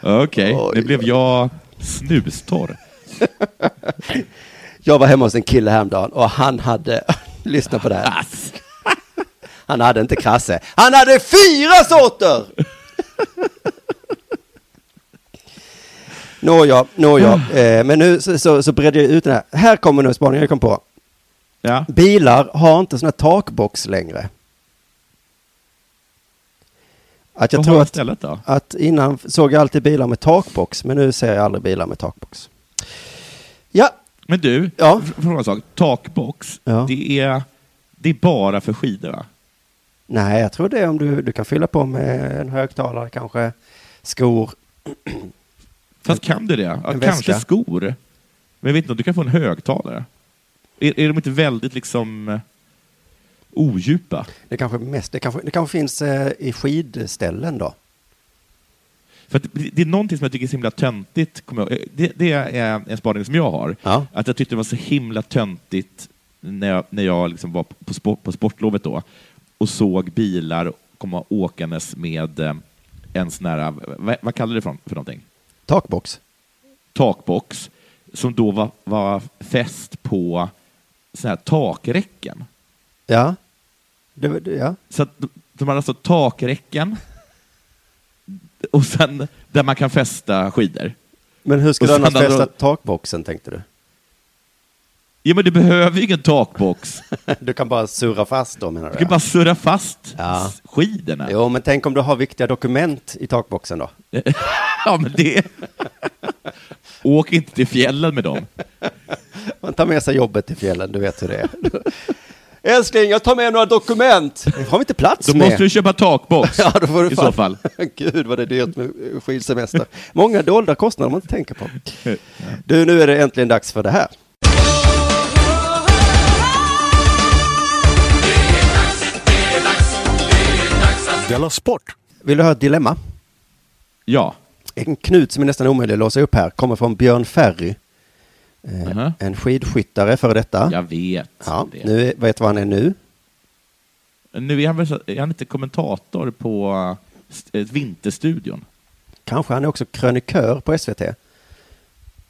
[SPEAKER 9] Okej,
[SPEAKER 8] Oj.
[SPEAKER 9] nu blev jag snustorr.
[SPEAKER 8] Jag var hemma hos en kille häromdagen och han hade, *laughs* lyssna på det här.
[SPEAKER 9] Ass.
[SPEAKER 8] Han hade inte krasse. Han hade fyra sorter! Nåja, nåja. Eh, men nu så, så, så bredde jag ut den här. Här kommer nu spaningen jag kom på.
[SPEAKER 9] Ja.
[SPEAKER 8] Bilar har inte sån här takbox längre. Att jag
[SPEAKER 9] Vad har
[SPEAKER 8] tror
[SPEAKER 9] jag
[SPEAKER 8] att,
[SPEAKER 9] istället då?
[SPEAKER 8] att innan såg jag alltid bilar med takbox, men nu ser jag aldrig bilar med takbox. Ja,
[SPEAKER 9] Men du,
[SPEAKER 8] Ja.
[SPEAKER 9] fr- fråga en sak. Takbox,
[SPEAKER 8] Ja.
[SPEAKER 9] det, är, det är bara för skidor va?
[SPEAKER 8] nej, jag tror det är om du, du kan fylla på med en högtalare kanske, skor.
[SPEAKER 9] Fast kan du det? Ja,
[SPEAKER 8] en
[SPEAKER 9] kanske
[SPEAKER 8] väska.
[SPEAKER 9] skor. Men jag vet inte, du kan få en högtalare. Är, är de inte väldigt liksom eh, odjupa?
[SPEAKER 8] Det kanske, mest, det kanske, det kanske finns eh, i skidställen då.
[SPEAKER 9] För att det det är någonting som jag tycker är så himla töntigt. kommer jag ihåg. Det, det är en spaning som jag har.
[SPEAKER 8] Ja.
[SPEAKER 9] Att jag tyckte det var så himla töntigt när jag, när jag liksom var på, sport, på sportlovet då och såg bilar komma åkandes med eh, en sån här, vad, vad kallar du det för, för någonting?
[SPEAKER 8] Takbox.
[SPEAKER 9] Takbox, som då var, var fäst på sån här takräcken.
[SPEAKER 8] Ja. Det, var- det, ja.
[SPEAKER 9] Så att de- de har alltså takräcken och sen där man kan fästa skidor.
[SPEAKER 8] Men hur ska
[SPEAKER 9] Och
[SPEAKER 8] du annars
[SPEAKER 9] sen hade
[SPEAKER 8] fästa
[SPEAKER 9] du-
[SPEAKER 8] takboxen tänkte du? *laughs*
[SPEAKER 9] Ja, men du behöver ju ingen takbox.
[SPEAKER 8] Du kan bara surra fast då menar
[SPEAKER 9] Du
[SPEAKER 8] du?
[SPEAKER 9] kan bara surra fast
[SPEAKER 8] Ja.
[SPEAKER 9] s- skidorna.
[SPEAKER 8] Jo, men tänk om du har viktiga dokument i takboxen då?
[SPEAKER 9] *laughs* Ja, men det... Åk inte till fjällen med dem.
[SPEAKER 8] Man tar med sig jobbet till fjällen, du vet hur det är. *laughs* Älskling, jag tar med några dokument. Det har vi inte plats
[SPEAKER 9] Då
[SPEAKER 8] med.
[SPEAKER 9] måste du köpa
[SPEAKER 8] *laughs*
[SPEAKER 9] takbox
[SPEAKER 8] Ja, då får du
[SPEAKER 9] i
[SPEAKER 8] fan-
[SPEAKER 9] så fall.
[SPEAKER 8] *laughs* Gud vad det är dyrt med skidsemester. Många dolda kostnader man inte tänker på. Du, nu är det äntligen dags för det här.
[SPEAKER 5] Della Sport!
[SPEAKER 8] Vill du ha ett dilemma?
[SPEAKER 9] Ja.
[SPEAKER 8] En knut som är nästan omöjlig att låsa upp här kommer från Björn Ferry. Eh,
[SPEAKER 9] Mhm.
[SPEAKER 8] En skidskyttare före detta.
[SPEAKER 9] Jag vet.
[SPEAKER 8] Ja,
[SPEAKER 9] det.
[SPEAKER 8] nu är- vet vad han är nu.
[SPEAKER 9] Nu är han, väl så- är han inte kommentator på st- eh, Vinterstudion?
[SPEAKER 8] Kanske han är också krönikör på SVT.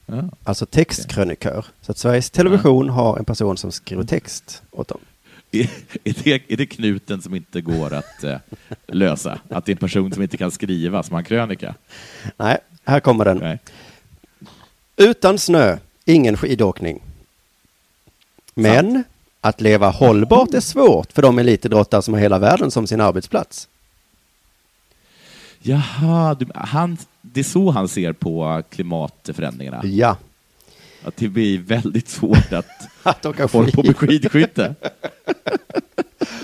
[SPEAKER 9] Ja.
[SPEAKER 8] Alltså textkrönikör. Så att Sveriges Television har en person som skriver text åt dem.
[SPEAKER 9] Är, är, det, är det knuten som inte går att eh, lösa? Att det är en person som inte kan skriva som har en krönika?
[SPEAKER 8] Nej, här kommer den.
[SPEAKER 9] Nej.
[SPEAKER 8] Utan snö, ingen skidåkning. Men att leva hållbart är svårt för de elitidrottare som har hela världen som sin arbetsplats.
[SPEAKER 9] Jaha, du, han, det är så han ser på klimatförändringarna?
[SPEAKER 8] Ja. *laughs*
[SPEAKER 9] Att det blir väldigt svårt att
[SPEAKER 8] Att åka
[SPEAKER 9] hålla på med skidskytte?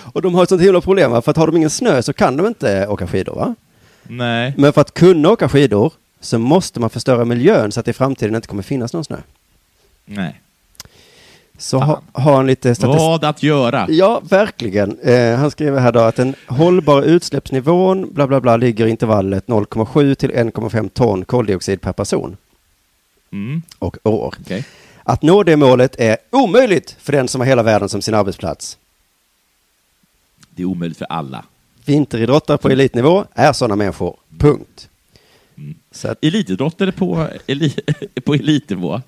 [SPEAKER 8] Och de har ett sånt himla problem, va? för att har de ingen snö så kan de inte åka skidor. Va?
[SPEAKER 9] Nej.
[SPEAKER 8] Men för att kunna åka skidor så måste man förstöra miljön så att det i framtiden inte kommer finnas någon snö.
[SPEAKER 9] Nej.
[SPEAKER 8] Så ha, har en lite statistik.
[SPEAKER 9] Vad att göra?
[SPEAKER 8] Ja, verkligen. Eh, han skriver här då att den hållbara utsläppsnivån bla bla bla ligger i intervallet 0,7 till 1,5 ton koldioxid per person
[SPEAKER 9] Mm,
[SPEAKER 8] och år.
[SPEAKER 9] okej.
[SPEAKER 8] Att nå det målet är omöjligt för den som har hela världen som sin arbetsplats.
[SPEAKER 9] Det är omöjligt för alla.
[SPEAKER 8] Vinteridrottare på elitnivå är sådana människor. Punkt. Så att,
[SPEAKER 9] Elitidrottare på, *laughs* eli, på elitnivå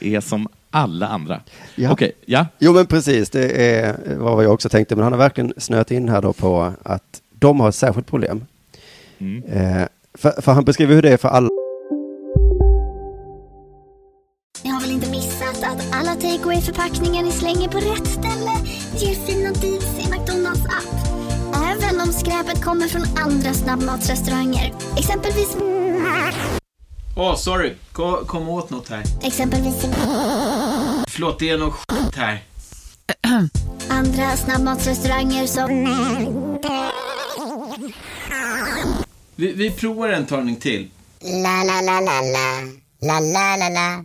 [SPEAKER 9] är som alla andra.
[SPEAKER 8] Ja.
[SPEAKER 9] Okej, ja.
[SPEAKER 8] jo men precis, det är eh, vad jag också tänkte, men han har verkligen snöat in här då på att de har ett särskilt problem.
[SPEAKER 9] Mm.
[SPEAKER 8] Eh, för, för han beskriver hur det är för alla
[SPEAKER 10] Ni har väl inte missat att Alla takeaway förpackningar ni slänger på rätt ställe ger fina deals i McDonalds app. Även om skräpet kommer från andra snabbmatsrestauranger. Exempelvis...
[SPEAKER 11] Åh, sorry. Kom, kom åt något här.
[SPEAKER 10] Exempelvis...
[SPEAKER 11] Förlåt, det är något skit här.
[SPEAKER 10] Andra snabbmatsrestauranger som...
[SPEAKER 11] Vi, vi provar en talning till.
[SPEAKER 10] La, la, la, la, la. La, la, la, la.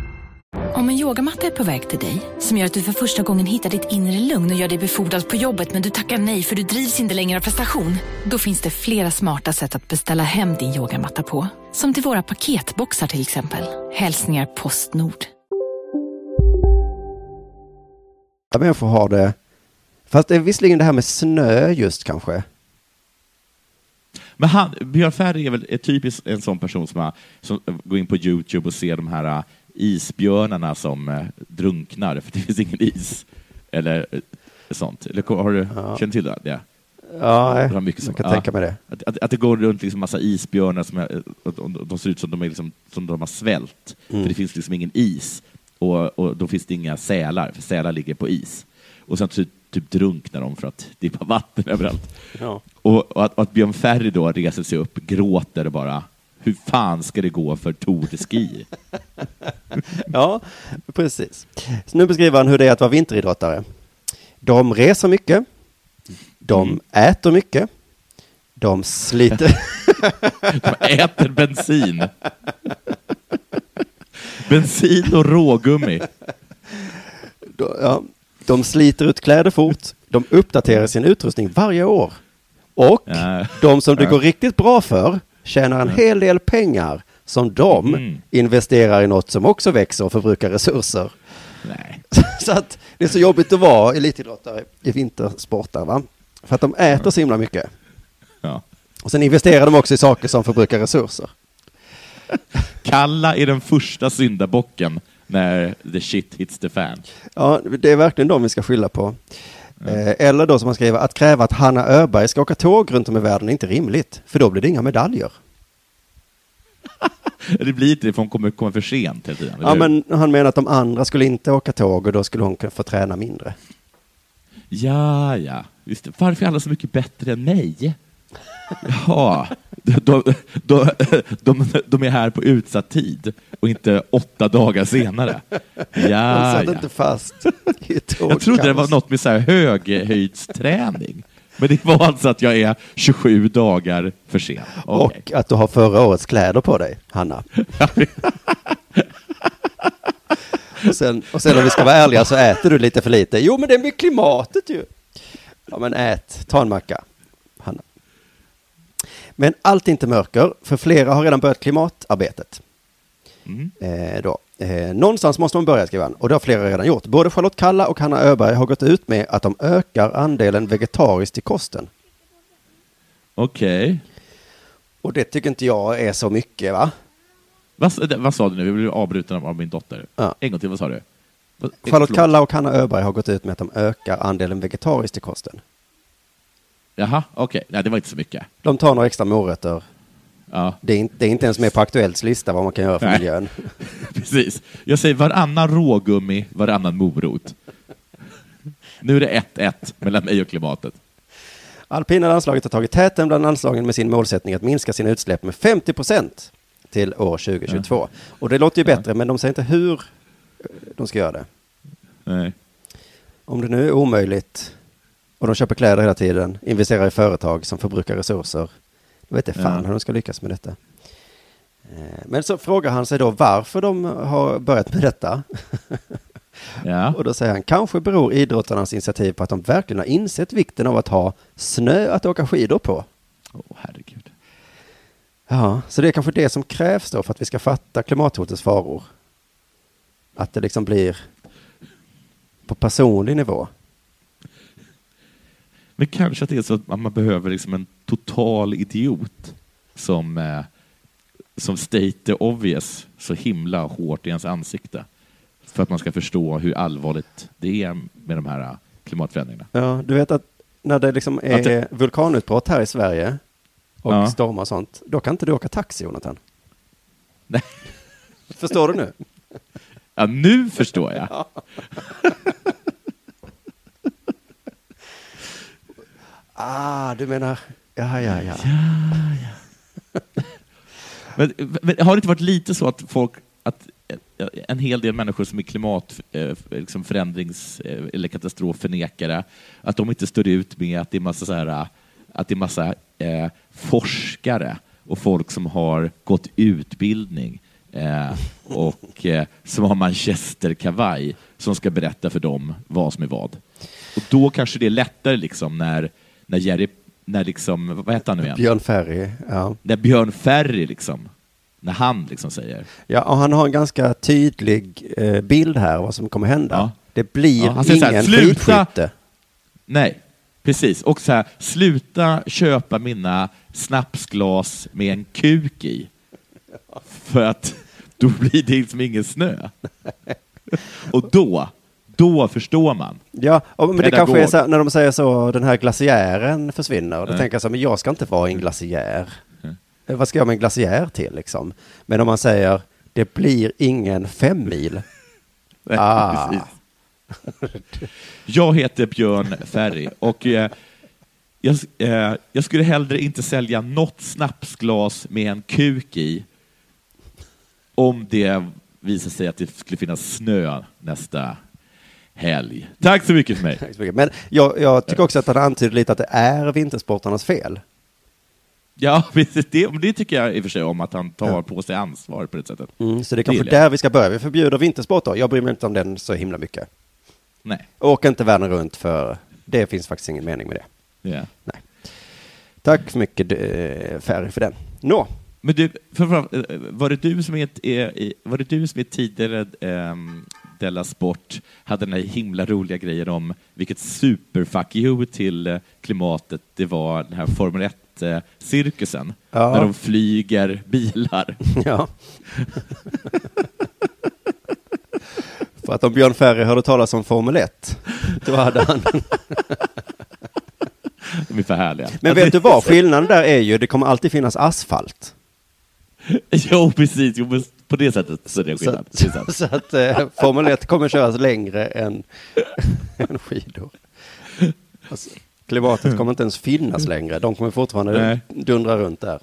[SPEAKER 12] Om en yogamatta är på väg till dig, som gör att du för första gången hittar ditt inre lugn och gör dig befordrad på jobbet men du tackar nej för du drivs inte längre av prestation. Då finns det flera smarta sätt att beställa hem din yogamatta på. Som till våra paketboxar till exempel. Hälsningar Postnord.
[SPEAKER 8] Alla människor har det. Fast det är visserligen det här med snö just kanske.
[SPEAKER 9] Men han, Björn Ferry är väl är typiskt en sån person som, har, som går in på Youtube och ser de här äh, isbjörnarna som äh, drunknar för det finns ingen is. Eller äh, sånt. Eller, har du,
[SPEAKER 8] Ja.
[SPEAKER 9] Känner du till det?
[SPEAKER 8] Ja,
[SPEAKER 9] Det har
[SPEAKER 8] jag Eh, kan tänka mig det.
[SPEAKER 9] Att, att, att det går runt liksom massa isbjörnar som är, äh, att de- de ser ut som de, är liksom, som de har svält,
[SPEAKER 8] Mm.
[SPEAKER 9] för det finns liksom ingen is. Och, och då finns det inga sälar, för sälar ligger på is. Och sen typ, typ drunknar de för att det är bara vatten *laughs* överallt.
[SPEAKER 8] Ja.
[SPEAKER 9] Och, och, att, och att Björn Ferry då reser sig upp, gråter och bara, hur fan ska det gå för Tour de Ski?
[SPEAKER 8] Ja, precis. Så nu beskriver han hur det är att vara vinteridrottare. De reser mycket. De
[SPEAKER 9] Mm.
[SPEAKER 8] äter mycket. De sliter.
[SPEAKER 9] *laughs* De äter bensin. bensin och rågummi.
[SPEAKER 8] De, ja, de sliter ut kläder fort. De uppdaterar sin utrustning varje år. Och de som det
[SPEAKER 9] Ja.
[SPEAKER 8] går riktigt bra för tjänar en
[SPEAKER 9] Ja.
[SPEAKER 8] hel del pengar som de
[SPEAKER 9] Mm.
[SPEAKER 8] investerar i något som också växer och förbrukar resurser. *laughs*
[SPEAKER 9] Nej.
[SPEAKER 8] Så att det är så jobbigt att vara elitidrottare i vintersportar, va? För att de äter så himla mycket.
[SPEAKER 9] Ja.
[SPEAKER 8] Och sen investerar de också i saker som förbrukar resurser.
[SPEAKER 9] Kalla är den första syndabocken när the shit hits the fan.
[SPEAKER 8] Ja, det är verkligen de vi ska skylla på.
[SPEAKER 9] Mm.
[SPEAKER 8] Eh, Eller då som man skriver, att kräva att Hanna Öberg ska åka tåg runt om i världen är inte rimligt, för då blir det inga medaljer.
[SPEAKER 9] Det blir inte det, för hon kommer komma för sent hela tiden.
[SPEAKER 8] Ja,
[SPEAKER 9] eller hur?
[SPEAKER 8] men han menar att de andra skulle inte åka tåg och då skulle hon kunna få träna mindre.
[SPEAKER 9] ja, ja. Just det. Varför är alla så mycket bättre än mig? Jaha, de, de, de, de är här på utsatt tid och inte åtta dagar senare.
[SPEAKER 8] hon
[SPEAKER 9] Ah, Ja,
[SPEAKER 8] satt
[SPEAKER 9] ja.
[SPEAKER 8] inte fast i tåg.
[SPEAKER 9] Jag trodde det var något med så här höghöjdsträning. Men det var alltså att jag är 27 dagar för sen. Okej.
[SPEAKER 8] Och att du har förra årets kläder på dig, Hanna. och, sen, och sen om vi ska vara ärliga så äter du lite för lite. Jo, men det är med klimatet ju. Ja, men ät. Ta en macka, Hanna. Men allt är inte mörker, för flera har redan börjat klimatarbetet. Eh, då. Eh, någonstans måste man börja, skriver han. Och det har flera redan gjort. Både Charlotte Kalla och Hanna Öberg har gått ut med att de ökar andelen vegetariskt i kosten.
[SPEAKER 9] Okej.
[SPEAKER 8] Och det tycker inte jag är så mycket, va?
[SPEAKER 9] Vad, vad sa du nu? Jag blev avbruten av min dotter. En gång till, vad sa du? Vad- eh,
[SPEAKER 8] Charlotte
[SPEAKER 9] förlåt.
[SPEAKER 8] Kalla och Hanna Öberg har gått ut med att de ökar andelen vegetariskt i kosten.
[SPEAKER 9] Jaha, okej. Nej, det var inte så mycket.
[SPEAKER 8] De tar några extra morötter.
[SPEAKER 9] Ja.
[SPEAKER 8] Det, är inte, det är inte ens med på Aktuellts lista vad man kan göra för
[SPEAKER 9] Nej.
[SPEAKER 8] miljön.
[SPEAKER 9] *laughs* Precis. Jag säger varannan rågummi, varannan morot. Nu är det 1-1 mellan mig och klimatet.
[SPEAKER 8] Alpina landslaget har tagit täten bland landslagen med sin målsättning att minska sina utsläpp med 50 procent till år 2022. Och det låter ju bättre, men de säger inte hur eh, de ska göra det.
[SPEAKER 9] Nej.
[SPEAKER 8] Om det nu är omöjligt och de köper kläder hela tiden, investerar i företag som förbrukar resurser, då vet jag fan
[SPEAKER 9] Ja.
[SPEAKER 8] hur de ska lyckas med detta. Eh, Men så frågar han sig då varför de har börjat med detta.
[SPEAKER 9] Ja.
[SPEAKER 8] *laughs* Och då säger han, kanske beror idrottarnas initiativ på att de verkligen har insett vikten av att ha snö att åka skidor på.
[SPEAKER 9] Åh, herregud.
[SPEAKER 8] Ja, så det är kanske det som krävs då för att vi ska fatta klimathotets faror. Att det liksom blir på personlig nivå.
[SPEAKER 9] Men kanske att det är så att man behöver liksom en total idiot som, eh, som state the obvious så himla hårt i ens ansikte för att man ska förstå hur allvarligt det är med de här eh, klimatförändringarna.
[SPEAKER 8] Ja, du vet att när det liksom är
[SPEAKER 9] Att det-
[SPEAKER 8] vulkanutbrott här i Sverige och
[SPEAKER 9] Ja.
[SPEAKER 8] stormar och sånt, då kan inte du åka taxi, Jonathan. Förstår du
[SPEAKER 9] *laughs*
[SPEAKER 8] nu?
[SPEAKER 9] *laughs* Ja, nu förstår jag.
[SPEAKER 8] Ah, du menar, ja, ja, ja.
[SPEAKER 9] Men, men har det inte varit lite så att folk, att eh, en hel del människor som är klimat, eh, liksom förändrings eh, eller katastrofförnekare, att de inte står ut med att det är massa, så här, eh, att det är massa eh, forskare och folk som har gått utbildning eh, och eh, som har manchesterkavaj som ska berätta för dem vad som är vad. Och då kanske det är lättare liksom när, när Jerry, när liksom, vad heter han nu igen?
[SPEAKER 8] Björn Ferry, ja.
[SPEAKER 9] När Björn Ferry liksom, när han liksom säger.
[SPEAKER 8] Ja, och han har en ganska tydlig eh, bild här vad som kommer hända. Det blir
[SPEAKER 9] Ja, han säger så här,
[SPEAKER 8] ingen
[SPEAKER 9] "Sluta!"
[SPEAKER 8] skidskytte.
[SPEAKER 9] Nej, precis. Och så här, sluta köpa mina snapsglas med en kuk i. För att då blir det liksom ingen snö. Och då, då förstår man.
[SPEAKER 8] Ja, och, men det kanske är
[SPEAKER 9] Pedagog.
[SPEAKER 8] så här, när de säger så, den här glaciären försvinner, då
[SPEAKER 9] Mm.
[SPEAKER 8] tänker jag så här, men jag ska inte vara i en glaciär. Eh, Vad ska jag med en glaciär till liksom? Men om man säger, det blir ingen fem mil.
[SPEAKER 9] Nej,
[SPEAKER 8] Ah.
[SPEAKER 9] precis. *laughs* Jag heter Björn Ferry och eh, jag, eh, jag skulle hellre inte sälja något snapsglas med en kuk i om det visar sig att det skulle finnas snö nästa helg. Tack så mycket för mig.
[SPEAKER 8] Tack så mycket. Men jag, jag tycker också att han antyder lite att det är vintersportarnas fel.
[SPEAKER 9] Ja, *laughs* precis. det, men det tycker jag i och för sig om, att han tar på sig ansvar på det sättet.
[SPEAKER 8] Mm, så det är kanske
[SPEAKER 9] gillar jag.
[SPEAKER 8] där vi ska börja. Vi förbjuder vintersport då. Jag bryr mig inte om den så himla mycket.
[SPEAKER 9] Nej.
[SPEAKER 8] Åk inte världen runt för det finns faktiskt ingen mening med det.
[SPEAKER 9] Ja.
[SPEAKER 8] Nej. Tack så mycket eh, Ferry för den. Nå, *laughs*
[SPEAKER 9] Men du, för, för, eh, var, det du som är, ett- är- är- var det du som är tidigare ehm, Della Sport hade den här himla roliga grejen om vilket super-fuck you till eh, klimatet det var den här Formel 1-cirkusen,
[SPEAKER 8] Ja.
[SPEAKER 9] när de flyger bilar.
[SPEAKER 8] Ja. *laughs* för att om Björn Ferry hörde talas om Formel 1, då hade han...
[SPEAKER 9] De är för härliga.
[SPEAKER 8] Men vet du vad, skillnaden där är ju, det kommer alltid finnas asfalt.
[SPEAKER 9] *laughs* Jo, precis. Jo, men på det sättet så är det
[SPEAKER 8] Så
[SPEAKER 9] skillnad.
[SPEAKER 8] att,
[SPEAKER 9] Det är
[SPEAKER 8] *laughs*
[SPEAKER 9] sant.
[SPEAKER 8] så att eh, Formel 1 kommer köras längre än, *laughs* än skidor. Alltså, klimatet kommer inte ens finnas längre. De kommer fortfarande
[SPEAKER 9] Nej.
[SPEAKER 8] dundra runt där.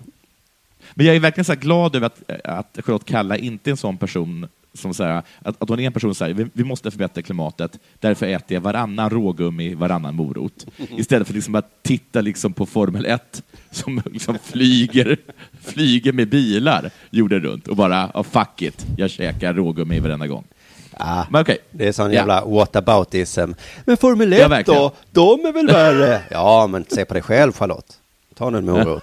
[SPEAKER 9] Men jag är verkligen så här glad över att, att Charlotte Kalla inte är en sån person som så här, att, att hon är en person som säger vi, vi måste förbättra klimatet, därför äter jag varannan rågummi, varannan morot.
[SPEAKER 8] Mm.
[SPEAKER 9] Istället för liksom att titta liksom på Formel 1 som liksom flyger,
[SPEAKER 8] *laughs*
[SPEAKER 9] flyger med bilar jorden runt och bara, oh, fuck it, jag käkar rågummi varenda gång.
[SPEAKER 8] Ah,
[SPEAKER 9] Men okej.
[SPEAKER 8] Det är sån
[SPEAKER 9] Ja.
[SPEAKER 8] jävla whataboutism. Men Formel 1
[SPEAKER 9] Ja, verkligen.
[SPEAKER 8] då? De är väl
[SPEAKER 9] *laughs*
[SPEAKER 8] värre? ja, men se på dig själv Charlotte. Ta nu en morot.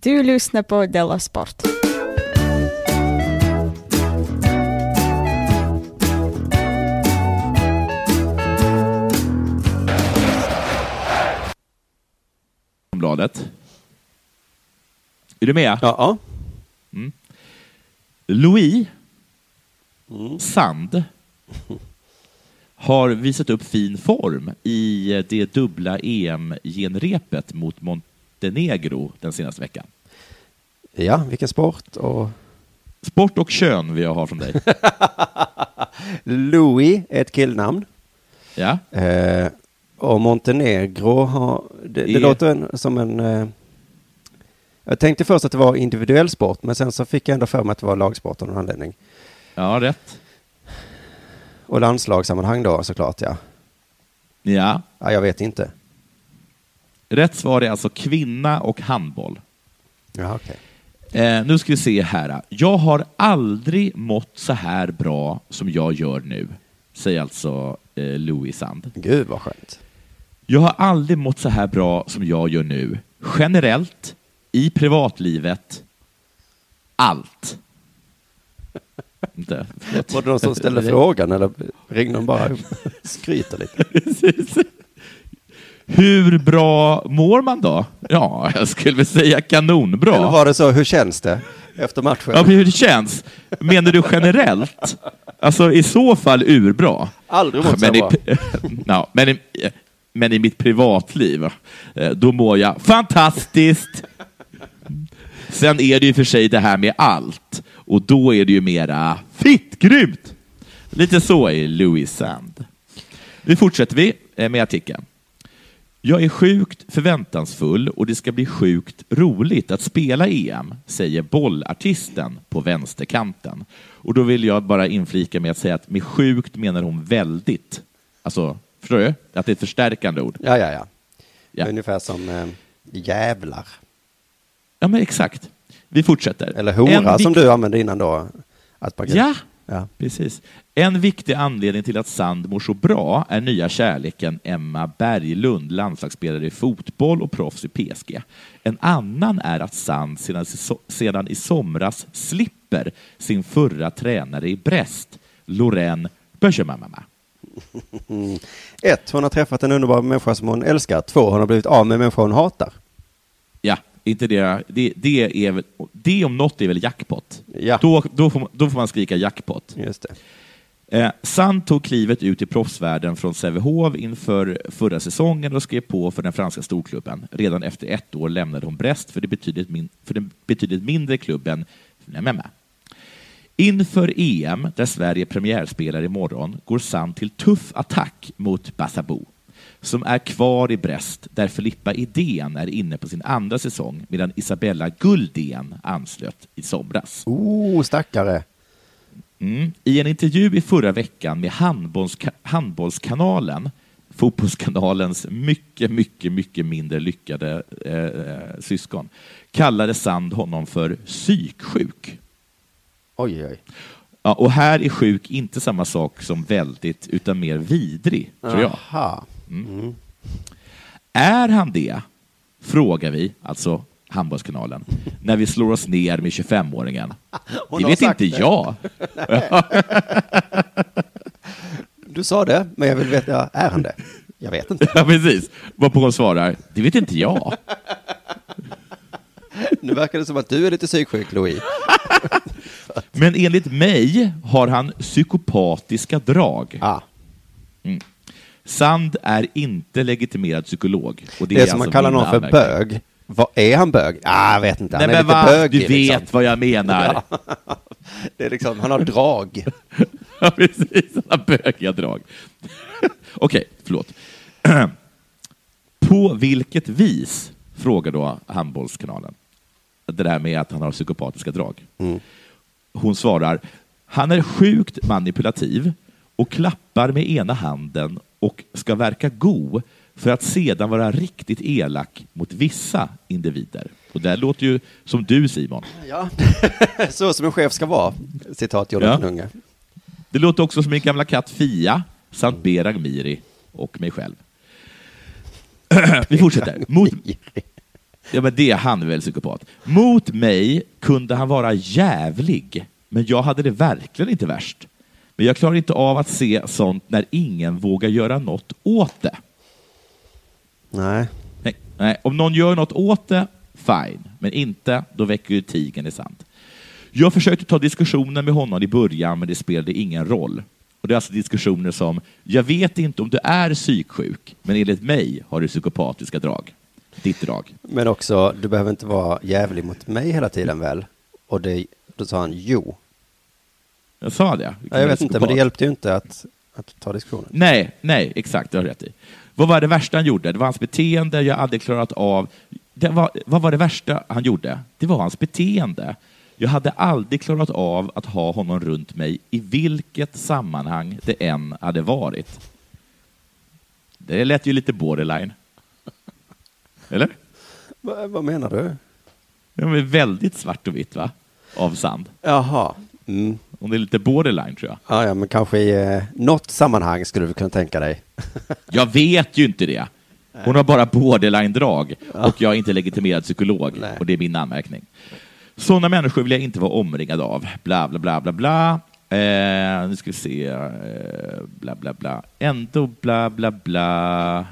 [SPEAKER 13] Du lyssnar på Della Sport.
[SPEAKER 9] Aftonbladet. Är du med?
[SPEAKER 8] Ja.
[SPEAKER 9] Mm. Louis Sand har visat upp fin form i det dubbla EM-genrepet mot Montenegro den senaste veckan.
[SPEAKER 8] Ja, vilken sport och...
[SPEAKER 9] Sport och kön vill jag ha från dig.
[SPEAKER 8] Louis är ett killnamn.
[SPEAKER 9] Ja.
[SPEAKER 8] Eh, och Montenegro har... Det, det
[SPEAKER 9] Är-
[SPEAKER 8] låter en, som en... Eh, jag tänkte först att det var individuell sport, men sen så fick jag ändå för mig att det var lagsport av någon anledning.
[SPEAKER 9] Ja, rätt.
[SPEAKER 8] Och landslagssammanhang då såklart, ja.
[SPEAKER 9] Ja.
[SPEAKER 8] ja jag vet inte.
[SPEAKER 9] Rätt svar är alltså kvinna och handboll.
[SPEAKER 8] Ja, okej.
[SPEAKER 9] Eh, nu ska vi se här. Jag har aldrig mått så här bra som jag gör nu, säger alltså eh, Louis Sand.
[SPEAKER 8] Gud vad skönt.
[SPEAKER 9] Jag har aldrig mått så här bra som jag gör nu. Generellt, i privatlivet, allt. Inte, förlåt.
[SPEAKER 8] Var det
[SPEAKER 9] *laughs*
[SPEAKER 8] någon som ställde frågan eller ringde de bara och skryter lite?
[SPEAKER 9] Precis. Hur bra mår man då? Ja, jag skulle väl säga kanonbra.
[SPEAKER 8] Eller var det så, hur känns det? efter matchen.
[SPEAKER 9] Ja, men hur det känns. Menar du generellt? Alltså i så fall urbra.
[SPEAKER 8] Aldrig mått
[SPEAKER 9] men,
[SPEAKER 8] så
[SPEAKER 9] i,
[SPEAKER 8] bra.
[SPEAKER 9] *laughs* ja, men, i, men i mitt privatliv, eh, då mår jag fantastiskt. Sen är det ju för sig det här med allt och då är det ju mera fitt grymt. Lite så är Louis Sand. Nu fortsätter vi eh, med artikeln. Jag är sjukt förväntansfull och det ska bli sjukt roligt att spela EM, säger bollartisten på vänsterkanten. Och då vill jag bara inflika med att säga att med sjukt menar hon väldigt. Alltså, förstår du? Att det är ett förstärkande ord.
[SPEAKER 8] Ja, ja, ja. Ungefär som eh, jävlar.
[SPEAKER 9] Ja, men exakt. Vi fortsätter.
[SPEAKER 8] Eller hora
[SPEAKER 9] En
[SPEAKER 8] som
[SPEAKER 9] vikt-
[SPEAKER 8] du använde innan då. Att man kan-
[SPEAKER 9] Ja.
[SPEAKER 8] ja.
[SPEAKER 9] Precis. En viktig anledning till att Sand mår så bra är nya kärleken Emma Berglund, landslagsspelare i fotboll och proffs i PSG. En annan är att Sand sedan, sedan i somras slipper sin förra tränare i Brest, Lorraine Bergemamama.
[SPEAKER 8] Mm. Ett, hon har träffat en underbar människa som hon älskar. Två, hon har blivit av med människor hon hatar.
[SPEAKER 9] Ja, inte det, det, det, är väl, det om något är väl jackpot. Då, då, får man, då får man skrika jackpot.
[SPEAKER 8] Just
[SPEAKER 9] det. Eh, Sand tog klivet ut i proffsvärlden från Sävehof inför förra säsongen och skrev på för den franska storklubben. Redan efter ett år lämnade hon Brest för, det betydligt min, för den betydligt mindre klubben Nememme. Inför EM, där Sverige premiärspelar imorgon, går Sand till tuff attack mot Bassabou som är kvar i Brest, där Filippa Idén är inne på sin andra säsong, medan Isabella Guldén anslöt i somras.
[SPEAKER 8] Oh, stackare.
[SPEAKER 9] Mm. I en intervju i förra veckan med handbollska- Handbollskanalen, Fotbollskanalens mycket, mycket, mycket mindre lyckade eh, eh, syskon, kallade Sand honom för psyksjuk.
[SPEAKER 8] Oj, oj.
[SPEAKER 9] Ja, och här är sjuk inte samma sak som väldigt, utan mer vidrig, tror jag.
[SPEAKER 8] Aha.
[SPEAKER 9] Mm. Är han det? Frågar vi, alltså Handbollskanalen, när vi slår oss ner med 25-åringen.
[SPEAKER 8] *laughs* Hon
[SPEAKER 9] Det
[SPEAKER 8] har
[SPEAKER 9] vet
[SPEAKER 8] sagt
[SPEAKER 9] inte
[SPEAKER 8] det.
[SPEAKER 9] jag.
[SPEAKER 8] Nej. Du sa det, men jag vill veta, är han det? Jag vet inte.
[SPEAKER 9] Ja, precis. Varpå hon svarar, det vet inte jag.
[SPEAKER 8] *laughs* Nu verkar det som att du är lite psyksjuk, Louis.
[SPEAKER 9] Men enligt mig har han psykopatiska drag. Mm. Sand är inte legitimerad psykolog. Och det, alltså
[SPEAKER 8] Det är alltså som man kallar
[SPEAKER 9] mina
[SPEAKER 8] någon för
[SPEAKER 9] anmärkningar.
[SPEAKER 8] bög. Vad är han bög? Ah, jag vet inte. Han
[SPEAKER 9] Nej,
[SPEAKER 8] är
[SPEAKER 9] men
[SPEAKER 8] lite
[SPEAKER 9] va?
[SPEAKER 8] bögig. liksom.
[SPEAKER 9] Du vet vad jag menar.
[SPEAKER 8] *laughs* Ja. Det är liksom, han har *laughs* drag.
[SPEAKER 9] *laughs* ja, precis. Sådana bökiga drag. *laughs* Okej, förlåt. *clears throat* På vilket vis, frågar då Handbollskanalen, det där med att han har psykopatiska drag. Hon svarar, han är sjukt manipulativ och klappar med ena handen och ska verka god för att sedan vara riktigt elak mot vissa individer. Och det här låter ju som du Simon.
[SPEAKER 8] Ja. Så som en chef ska vara, citat Jonathan
[SPEAKER 9] Ja.
[SPEAKER 8] Unge.
[SPEAKER 9] Det låter också som min gamla katt Fia, samt Berag Miri och mig själv. *clears throat* Vi fortsätter. Mot... Ja, men det är han väl psykopat. Mot mig kunde han vara jävlig, men jag hade det verkligen inte värst. Men jag klarar inte av att se sånt när ingen vågar göra något åt det.
[SPEAKER 8] Nej.
[SPEAKER 9] Nej, nej. Om någon gör något åt det, fine. Men inte, då väcker ju tigern i sand. Jag försökte ta diskussionen med honom i början, men det spelade ingen roll. Och Det är alltså diskussioner som, jag vet inte om du är psyksjuk, men enligt mig har du psykopatiska drag. Ditt drag.
[SPEAKER 8] Men också, du behöver inte vara jävlig mot mig hela tiden väl? Och det, då sa han jo. Mm,
[SPEAKER 9] Jag sa det.
[SPEAKER 8] Ja, jag vet inte, men det
[SPEAKER 9] Psykopat.
[SPEAKER 8] hjälpte ju inte att, att ta diskussionen.
[SPEAKER 9] Nej, nej, exakt, du har rätt i. Vad var det värsta han gjorde? Det var hans beteende jag aldrig klarat av. Det var, vad var det värsta han gjorde? Det var hans beteende. Jag hade aldrig klarat av att ha honom runt mig i vilket sammanhang det än hade varit. Det lät ju lite borderline. Eller?
[SPEAKER 8] Va, vad menar du?
[SPEAKER 9] Det var väldigt svart och vitt, va? Av sand.
[SPEAKER 8] Jaha. Mm.
[SPEAKER 9] Om det är lite borderline, tror jag.
[SPEAKER 8] Ja, ja, men kanske i eh, något sammanhang skulle du kunna tänka dig. *laughs*
[SPEAKER 9] Jag vet ju inte det. Hon har bara borderline-drag och jag är inte legitimerad psykolog och det är min anmärkning. Sådana människor vill jag inte vara omringad av. Bla, bla, bla, bla, bla. Eh, nu ska vi se. Eh, bla, bla, bla. Ändå bla, bla, bla.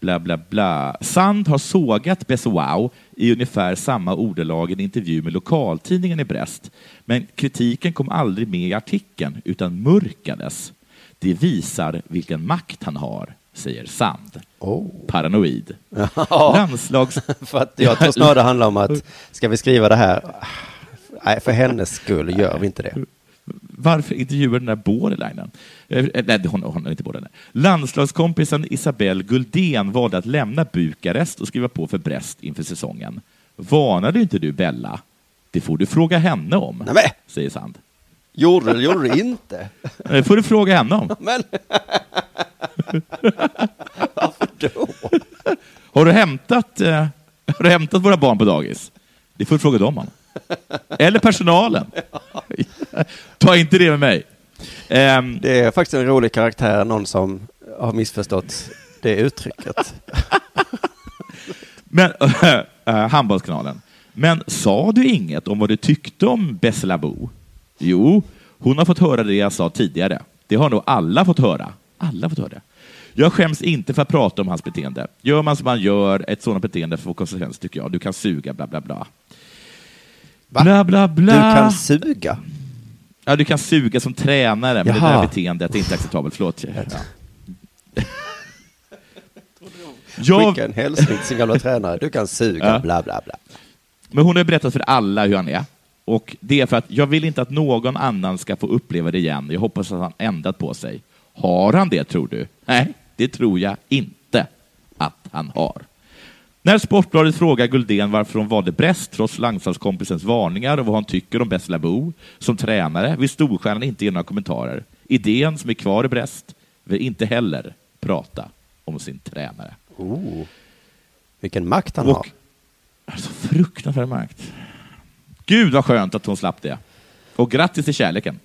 [SPEAKER 9] bla bla bla. Sand har sågat Bessoau i ungefär samma ordalag i en intervju med lokaltidningen i Brest. Men kritiken kom aldrig med i artikeln, utan mörkades. Det visar vilken makt han har, säger Sand.
[SPEAKER 8] *laughs*
[SPEAKER 9] Paranoid. Landslags...
[SPEAKER 8] Oh. För att jag tror snarare det handlar om att, ska vi skriva det här? Nej, för hennes skull gör vi inte det.
[SPEAKER 9] Varför intervjuar den där Borderlinen? Eh, Nej, hon, hon är inte Borderline. Landslagskompisen Isabelle Guldén valde att lämna Bukarest och skriva på för Brest inför säsongen. Varnade inte du Bella? Det får du fråga henne om, säger Sand.
[SPEAKER 8] Gjorde eller gjorde du inte?
[SPEAKER 9] Det får du fråga henne om.
[SPEAKER 8] Men... Varför då?
[SPEAKER 9] Har du hämtat, eh, har du hämtat våra barn på dagis? Det får du fråga dem om. Eller personalen. Ta inte det med mig. Ehm,
[SPEAKER 8] det är faktiskt en rolig karaktär, någon som har missförstått det uttrycket.
[SPEAKER 9] Men, *laughs* eh, handbollskanalen. Men sa du inget om vad du tyckte om Besselabo? Jo, hon har fått höra det jag sa tidigare. Det har nog alla fått höra. Alla fått höra det. Jag skäms inte för att prata om hans beteende. Gör man som man gör, ett sådant beteende får konsekvenser tycker jag. Du kan suga, bla bla bla. Bla bla bla.
[SPEAKER 8] Du kan suga?
[SPEAKER 9] Ja, du kan suga som tränare, men
[SPEAKER 8] Jaha.
[SPEAKER 9] det där beteendet är inte acceptabelt. Förlåt. *laughs* Ja.
[SPEAKER 8] Skicka en hälsning till sin gamla tränare. Du kan suga,
[SPEAKER 9] Ja.
[SPEAKER 8] bla bla bla.
[SPEAKER 9] Men hon har berättat för alla hur han är. Och det är för att jag vill inte att någon annan ska få uppleva det igen. Jag hoppas att han ändrat på sig. Har han det, tror du? Nej, det tror jag inte att han har. När Sportbladet frågar Guldén varför hon valde Brest trots landslagskompisens varningar och vad hon tycker om Besselabo som tränare vill storstjärnan inte ge några kommentarer. Idén som är kvar i Brest vill inte heller prata om sin tränare.
[SPEAKER 8] Oh. Vilken makt han
[SPEAKER 9] Och-
[SPEAKER 8] har.
[SPEAKER 9] Så fruktansvärd makt. Gud vad skönt att hon slapp det. Och grattis till kärleken.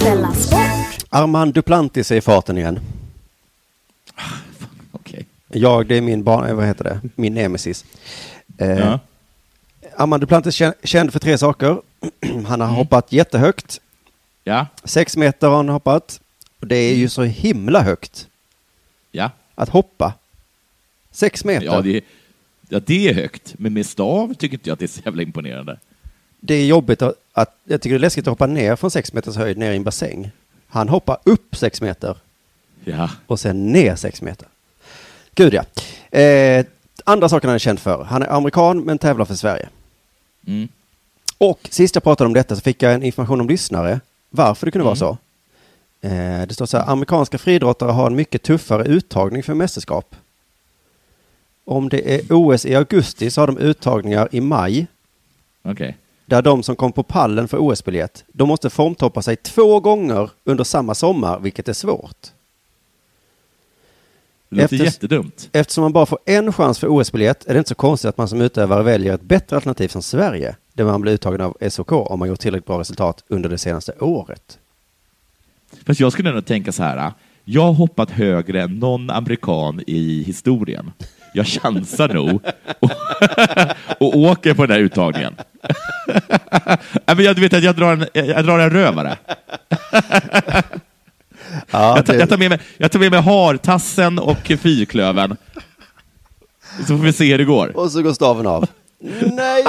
[SPEAKER 7] Della Sport.
[SPEAKER 8] Armand Duplantis är i farten igen.
[SPEAKER 9] Okej.
[SPEAKER 8] Jag, det är min barn, eh, vad heter det? Min nemesis. Eh,
[SPEAKER 9] Ja.
[SPEAKER 8] Armand Duplantis kä- känd för tre saker. *clears throat* Han
[SPEAKER 9] Mm.
[SPEAKER 8] har hoppat jättehögt.
[SPEAKER 9] Ja.
[SPEAKER 8] Sex meter har han hoppat. Och det är
[SPEAKER 9] Mm.
[SPEAKER 8] ju så himla högt
[SPEAKER 9] Ja.
[SPEAKER 8] att hoppa. Sex meter.
[SPEAKER 9] Ja det, ja, det är högt. Men med stav tycker inte jag att det är så jävla imponerande.
[SPEAKER 8] det är jobbigt att, att, jag tycker det är läskigt att hoppa ner från sex meters höjd ner i en bassäng. Han hoppar upp sex meter
[SPEAKER 9] Ja.
[SPEAKER 8] och sen ner sex meter. Gud ja. Eh, andra saker han är känd för. Han är amerikan men tävlar för Sverige.
[SPEAKER 9] Mm.
[SPEAKER 8] Och sist jag pratade om detta så fick jag en information om lyssnare. Varför det kunde vara så. Eh, det står så här. Amerikanska friidrottare har en mycket tuffare uttagning för mästerskap. Om det är OS i augusti så har de uttagningar i maj
[SPEAKER 9] Okej.
[SPEAKER 8] där de som kom på pallen för OS-biljett, de måste formtoppa sig två gånger under samma sommar, vilket är svårt.
[SPEAKER 9] Det låter
[SPEAKER 8] Efters-
[SPEAKER 9] jättedumt.
[SPEAKER 8] Eftersom man bara får en chans för OS-biljett är det inte så konstigt att man som utövare väljer ett bättre alternativ som Sverige, där man blir uttagen av SOK om man gjort tillräckligt bra resultat under det senaste året.
[SPEAKER 9] Fast jag skulle ändå tänka så här. ah, Jag har hoppat högre än någon amerikan i historien. Jag chansar nog och, och *laughs* åker på den här uttagningen. *laughs* Nej, men jag, du vet att jag drar en, jag drar en rövare.
[SPEAKER 8] Ja,
[SPEAKER 9] jag, tar,
[SPEAKER 8] det-
[SPEAKER 9] jag, tar med mig, jag tar med mig hartassen och fyrklöven. Så får vi se hur det går.
[SPEAKER 8] Och så går staven av. nej!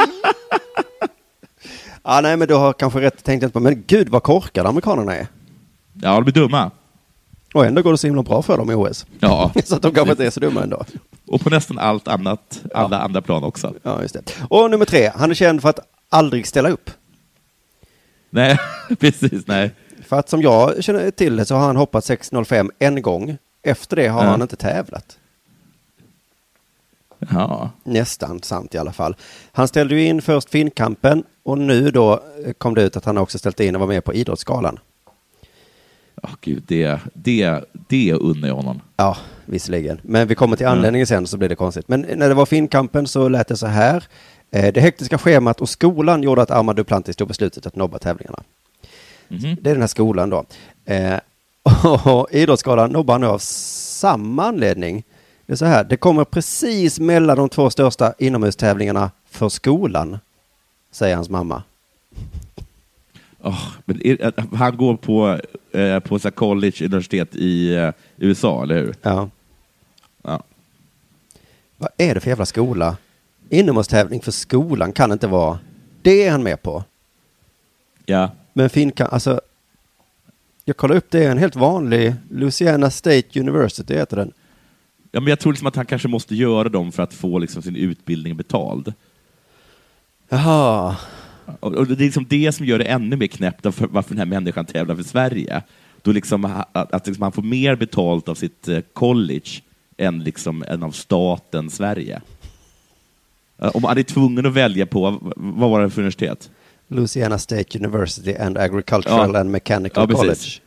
[SPEAKER 8] Ja, nej, men du har kanske rätt, tänkte jag inte på, men gud vad korkade amerikanerna är.
[SPEAKER 9] Ja, de blir dumma.
[SPEAKER 8] Och ändå går det så himla bra för dem i OS.
[SPEAKER 9] Ja.
[SPEAKER 8] *laughs* Så att de kanske inte är så dumma ändå.
[SPEAKER 9] Och på nästan allt annat, alla andra plan också.
[SPEAKER 8] Ja, just det. Och nummer tre, han är känd för att aldrig ställa upp.
[SPEAKER 9] Nej, *laughs* precis. Nej.
[SPEAKER 8] För att som jag känner till det så har han hoppat 6.05 en gång. Efter det har
[SPEAKER 9] Ja.
[SPEAKER 8] han inte tävlat.
[SPEAKER 9] Ja.
[SPEAKER 8] Nästan sant i alla fall. Han ställde ju in först finkampen och nu då eh, kom det ut att han också ställt in och var med på Idrottsgalan.
[SPEAKER 9] Åh, Gud, det, det, det unnar jag honom.
[SPEAKER 8] Ja, visserligen. Men vi kommer till anledningen sen så blir det konstigt. Men när det var finkampen så lät det så här. Eh, Det hektiska schemat och skolan gjorde att Armand Duplantis tog beslutet att nobba tävlingarna. Det är den här skolan då. Eh, *laughs* och Idrottsgalan nobbar han nu av samma anledning. Det är så här, det kommer precis mellan de två största inomhustävlingarna för skolan, säger hans mamma.
[SPEAKER 9] Åh, men är, att han går på, eh, på så här college, universitet i eh, USA, eller hur?
[SPEAKER 8] Ja.
[SPEAKER 9] Ja.
[SPEAKER 8] Vad är det för jävla skola? Inomhustävling för skolan kan inte vara... Det är han med på.
[SPEAKER 9] Ja.
[SPEAKER 8] Men finkan, alltså... Jag kollar upp, det är en helt vanlig Louisiana State University heter den.
[SPEAKER 9] Ja, men jag tror liksom att han kanske måste göra dem för att få liksom sin utbildning betald.
[SPEAKER 8] Jaha.
[SPEAKER 9] Och, och det är liksom det som gör det ännu mer knäppt av för- varför den här människan tävlar för Sverige. Då liksom, ha- att, att liksom han får mer betalt av sitt eh, college än, liksom, än av staten Sverige. Eh, Om han är tvungen att välja på, v- vad var det för universitet?
[SPEAKER 8] Louisiana State University and Agricultural and Mechanical
[SPEAKER 9] Ja, precis.
[SPEAKER 8] College.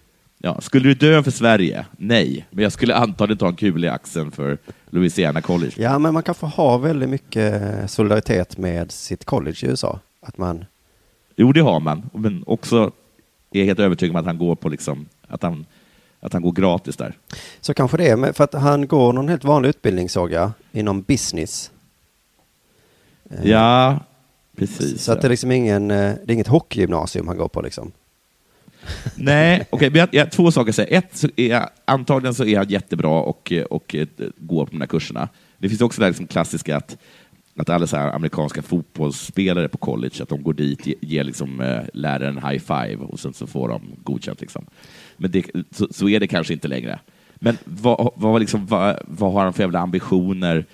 [SPEAKER 9] Ja, skulle du dö för Sverige? Nej, men jag skulle antagligen ta en kul i axeln för Louisiana College.
[SPEAKER 8] Ja, men man kan få ha väldigt mycket solidaritet med sitt college i USA. Att man...
[SPEAKER 9] Jo, det har man, men också är jag helt övertygad om att han går på liksom, att han, att han går gratis där.
[SPEAKER 8] Så kanske det är, men för att han går någon helt vanlig utbildning såg jag, inom business. Eh,
[SPEAKER 9] Ja, precis.
[SPEAKER 8] Så att det är
[SPEAKER 9] ja.
[SPEAKER 8] liksom ingen, eh, det är inget hockeygymnasium han går på liksom.
[SPEAKER 9] Nej, okej, men jag, jag, två saker. att säga. Ett, så är jag, antagligen så är han jättebra och, eh, och eh, går på de där kurserna. Det finns också det här liksom klassiska att, att alla så här amerikanska fotbollsspelare på college, att de går dit, ge- ger liksom, eh, läraren high five och sen så får de godkänt. Liksom. Men det, så, så är det kanske inte längre. Men vad, vad, liksom, vad, vad har han för jävla ambitioner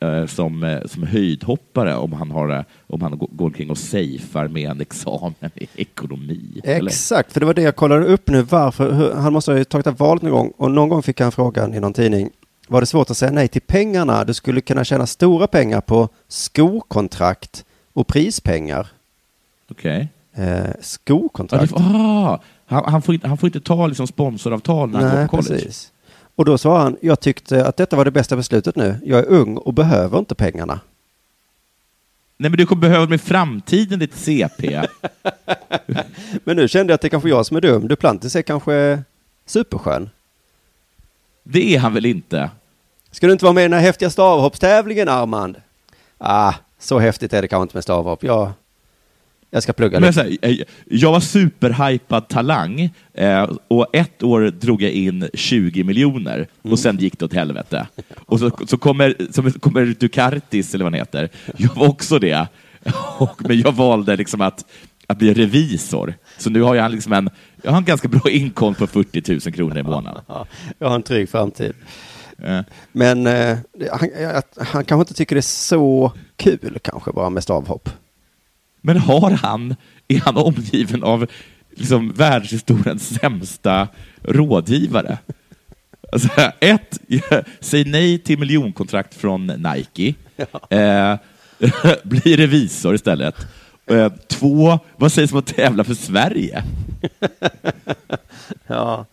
[SPEAKER 9] eh, som, eh, som höjdhoppare om han, har, eh, om han går går omkring och safear med en examen i ekonomi? eller?
[SPEAKER 8] Exakt, för det var det jag kollade upp nu, varför, hur, han måste ha ju tagit det här valet någon gång och någon gång fick han frågan i någon tidning, var det svårt att säga nej till pengarna? Du skulle kunna tjäna stora pengar på skokontrakt och prispengar.
[SPEAKER 9] Okej.
[SPEAKER 8] Eh,
[SPEAKER 9] Ja,
[SPEAKER 8] skokontrakt.
[SPEAKER 9] det- ah, han, han, får inte, han får inte ta liksom sponsoravtal när han går
[SPEAKER 8] Nej,
[SPEAKER 9] på college.
[SPEAKER 8] precis. Och då svarade han, jag tyckte att detta var det bästa beslutet nu. Jag är ung och behöver inte pengarna.
[SPEAKER 9] Nej, men du kommer behöva med framtiden ditt CP.
[SPEAKER 8] Men nu kände jag att det kanske är jag som är dum. Duplantis är kanske superskön.
[SPEAKER 9] det är han väl inte?
[SPEAKER 8] Ska du inte vara med i den här häftiga stavhoppstävlingen, Armand? Ah, så häftigt är det kanske inte med stavhopp. Jag, jag ska plugga
[SPEAKER 9] Men
[SPEAKER 8] lite.
[SPEAKER 9] så här, eh, jag var superhypad talang eh, och ett år drog jag in 20 miljoner och sen gick det åt helvete. Och så, så kommer, så kommer Ducartis, eller vad han heter, jag var också det. Och, men jag valde liksom att, att bli revisor. Så nu har jag, liksom en, jag har en ganska bra inkomst på 40 000 kronor i månaden.
[SPEAKER 8] Jag har en trygg framtid. Men eh, han, eh, han kanske inte tycker det är så kul kanske bara med stavhopp.
[SPEAKER 9] Men har han, är han omgiven av liksom världshistoriens sämsta rådgivare? Alltså, ett, *laughs* säg nej till miljonkontrakt från Nike. Eh, *laughs* bli revisor istället. Eh, två, vad sägs om att tävla för Sverige?
[SPEAKER 8] Ja.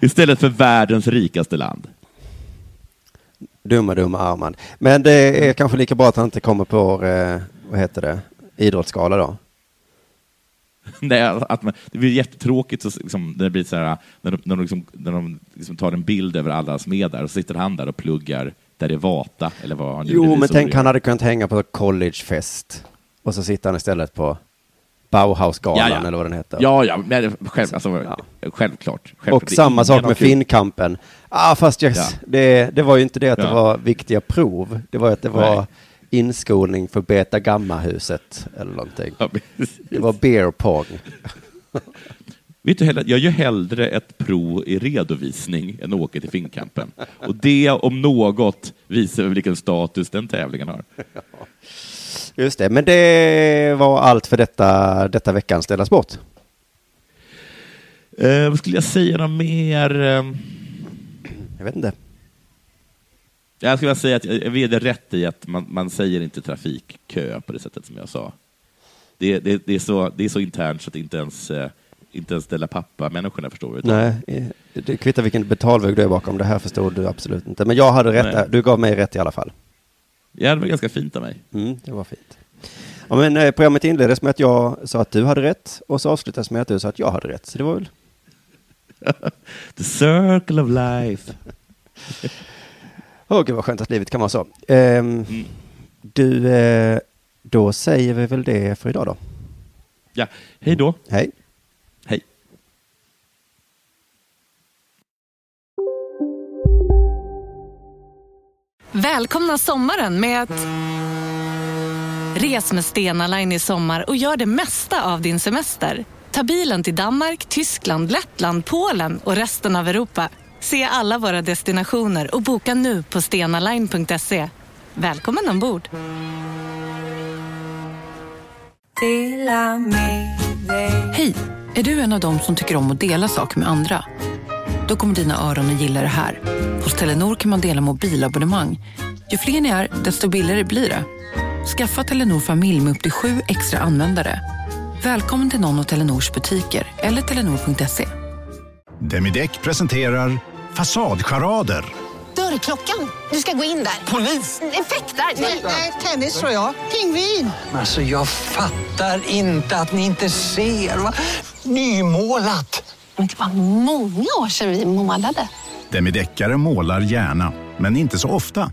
[SPEAKER 9] Istället för världens rikaste land.
[SPEAKER 8] Dumma, dumma Armand. Men det är kanske lika bra att han inte kommer på vår, eh, vad heter det, idrottsgala då.
[SPEAKER 9] *laughs* Nej, alltså, att man, det blir jättetråkigt så, liksom, när det blir så här, när de, när de, liksom, när de liksom tar en bild över alla som är där och så sitter han där och pluggar Derivata eller vad han nu
[SPEAKER 8] Jo,
[SPEAKER 9] blir
[SPEAKER 8] men
[SPEAKER 9] så
[SPEAKER 8] tänk
[SPEAKER 9] bra.
[SPEAKER 8] han hade kunnat hänga på collegefest och så sitter han istället på Bauhausgalan eller vad den heter.
[SPEAKER 9] Ja, ja, men det- själv, alltså, självklart. självklart.
[SPEAKER 8] Och
[SPEAKER 9] Det är
[SPEAKER 8] samma
[SPEAKER 9] ingen
[SPEAKER 8] sak
[SPEAKER 9] av
[SPEAKER 8] med
[SPEAKER 9] kul.
[SPEAKER 8] Finnkampen. Ah, fast yes,
[SPEAKER 9] Ja.
[SPEAKER 8] det, det var ju inte det att det
[SPEAKER 9] Ja.
[SPEAKER 8] var viktiga prov. Det var ju att det var
[SPEAKER 9] Nej.
[SPEAKER 8] inskolning för Beta Gamma-huset eller någonting.
[SPEAKER 9] Ja,
[SPEAKER 8] det var beer pong.
[SPEAKER 9] Vet du, hellre- jag gör hellre ett prov i redovisning än åker till Finnkampen. Och det om något visar väl vilken status den tävlingen har.
[SPEAKER 8] Just det, men det var allt för detta, detta veckans Della Sport.
[SPEAKER 9] Eh, vad skulle jag säga något mer? Eh,
[SPEAKER 8] Jag vet inte.
[SPEAKER 9] Jag skulle vilja säga att jag jag ger dig rätt i att man, man säger inte trafikkö på det sättet som jag sa. Det, det, det, är, så, det är så internt så att inte ens, eh, inte ens ställa pappa-människorna förstår det.
[SPEAKER 8] Nej, eh, det kvittar vilken betalväg du är bakom. Det här förstod du absolut inte. Men jag hade rätt.
[SPEAKER 9] Nej.
[SPEAKER 8] där. Du gav mig rätt i alla fall.
[SPEAKER 9] Ja, det var ganska fint av mig.
[SPEAKER 8] Mm, det var fint. Ja, men, eh, programmet inleddes med att jag sa att du hade rätt och så avslutades med att du sa att jag hade rätt. Så det var väl...
[SPEAKER 9] The circle of life.
[SPEAKER 8] Åh, gud vad skönt att livet kan vara så. Ehm, Du, eh, då säger vi väl det för idag då.
[SPEAKER 9] Ja, hej då.
[SPEAKER 8] Hej.
[SPEAKER 9] Hej.
[SPEAKER 14] Välkomna sommaren med att... Res med Stena Line i sommar och gör det mesta av din semester. Ta bilen till Danmark, Tyskland, Lettland, Polen och resten av Europa. Se alla våra destinationer och boka nu på stenaline.se. Välkommen ombord!
[SPEAKER 12] Hej! Är du en av dem som tycker om att dela saker med andra? Då kommer dina öron att gilla det här. Hos Telenor kan man dela mobilabonnemang. Ju fler ni är, desto billigare blir det. Skaffa Telenor familj med upp till sju extra användare. Välkommen till någon av Telenors butiker eller telenor.se.
[SPEAKER 3] Demideck presenterar Fasadcharader.
[SPEAKER 15] Dörrklockan. Du ska gå in där. Polis? Effektar? Nej, tennis tror jag. Pingvin.
[SPEAKER 16] Alltså jag fattar inte att ni inte ser. Va? Nymålat.
[SPEAKER 15] Men det var många år sedan vi målade.
[SPEAKER 3] Demideckare målar gärna, men inte så ofta.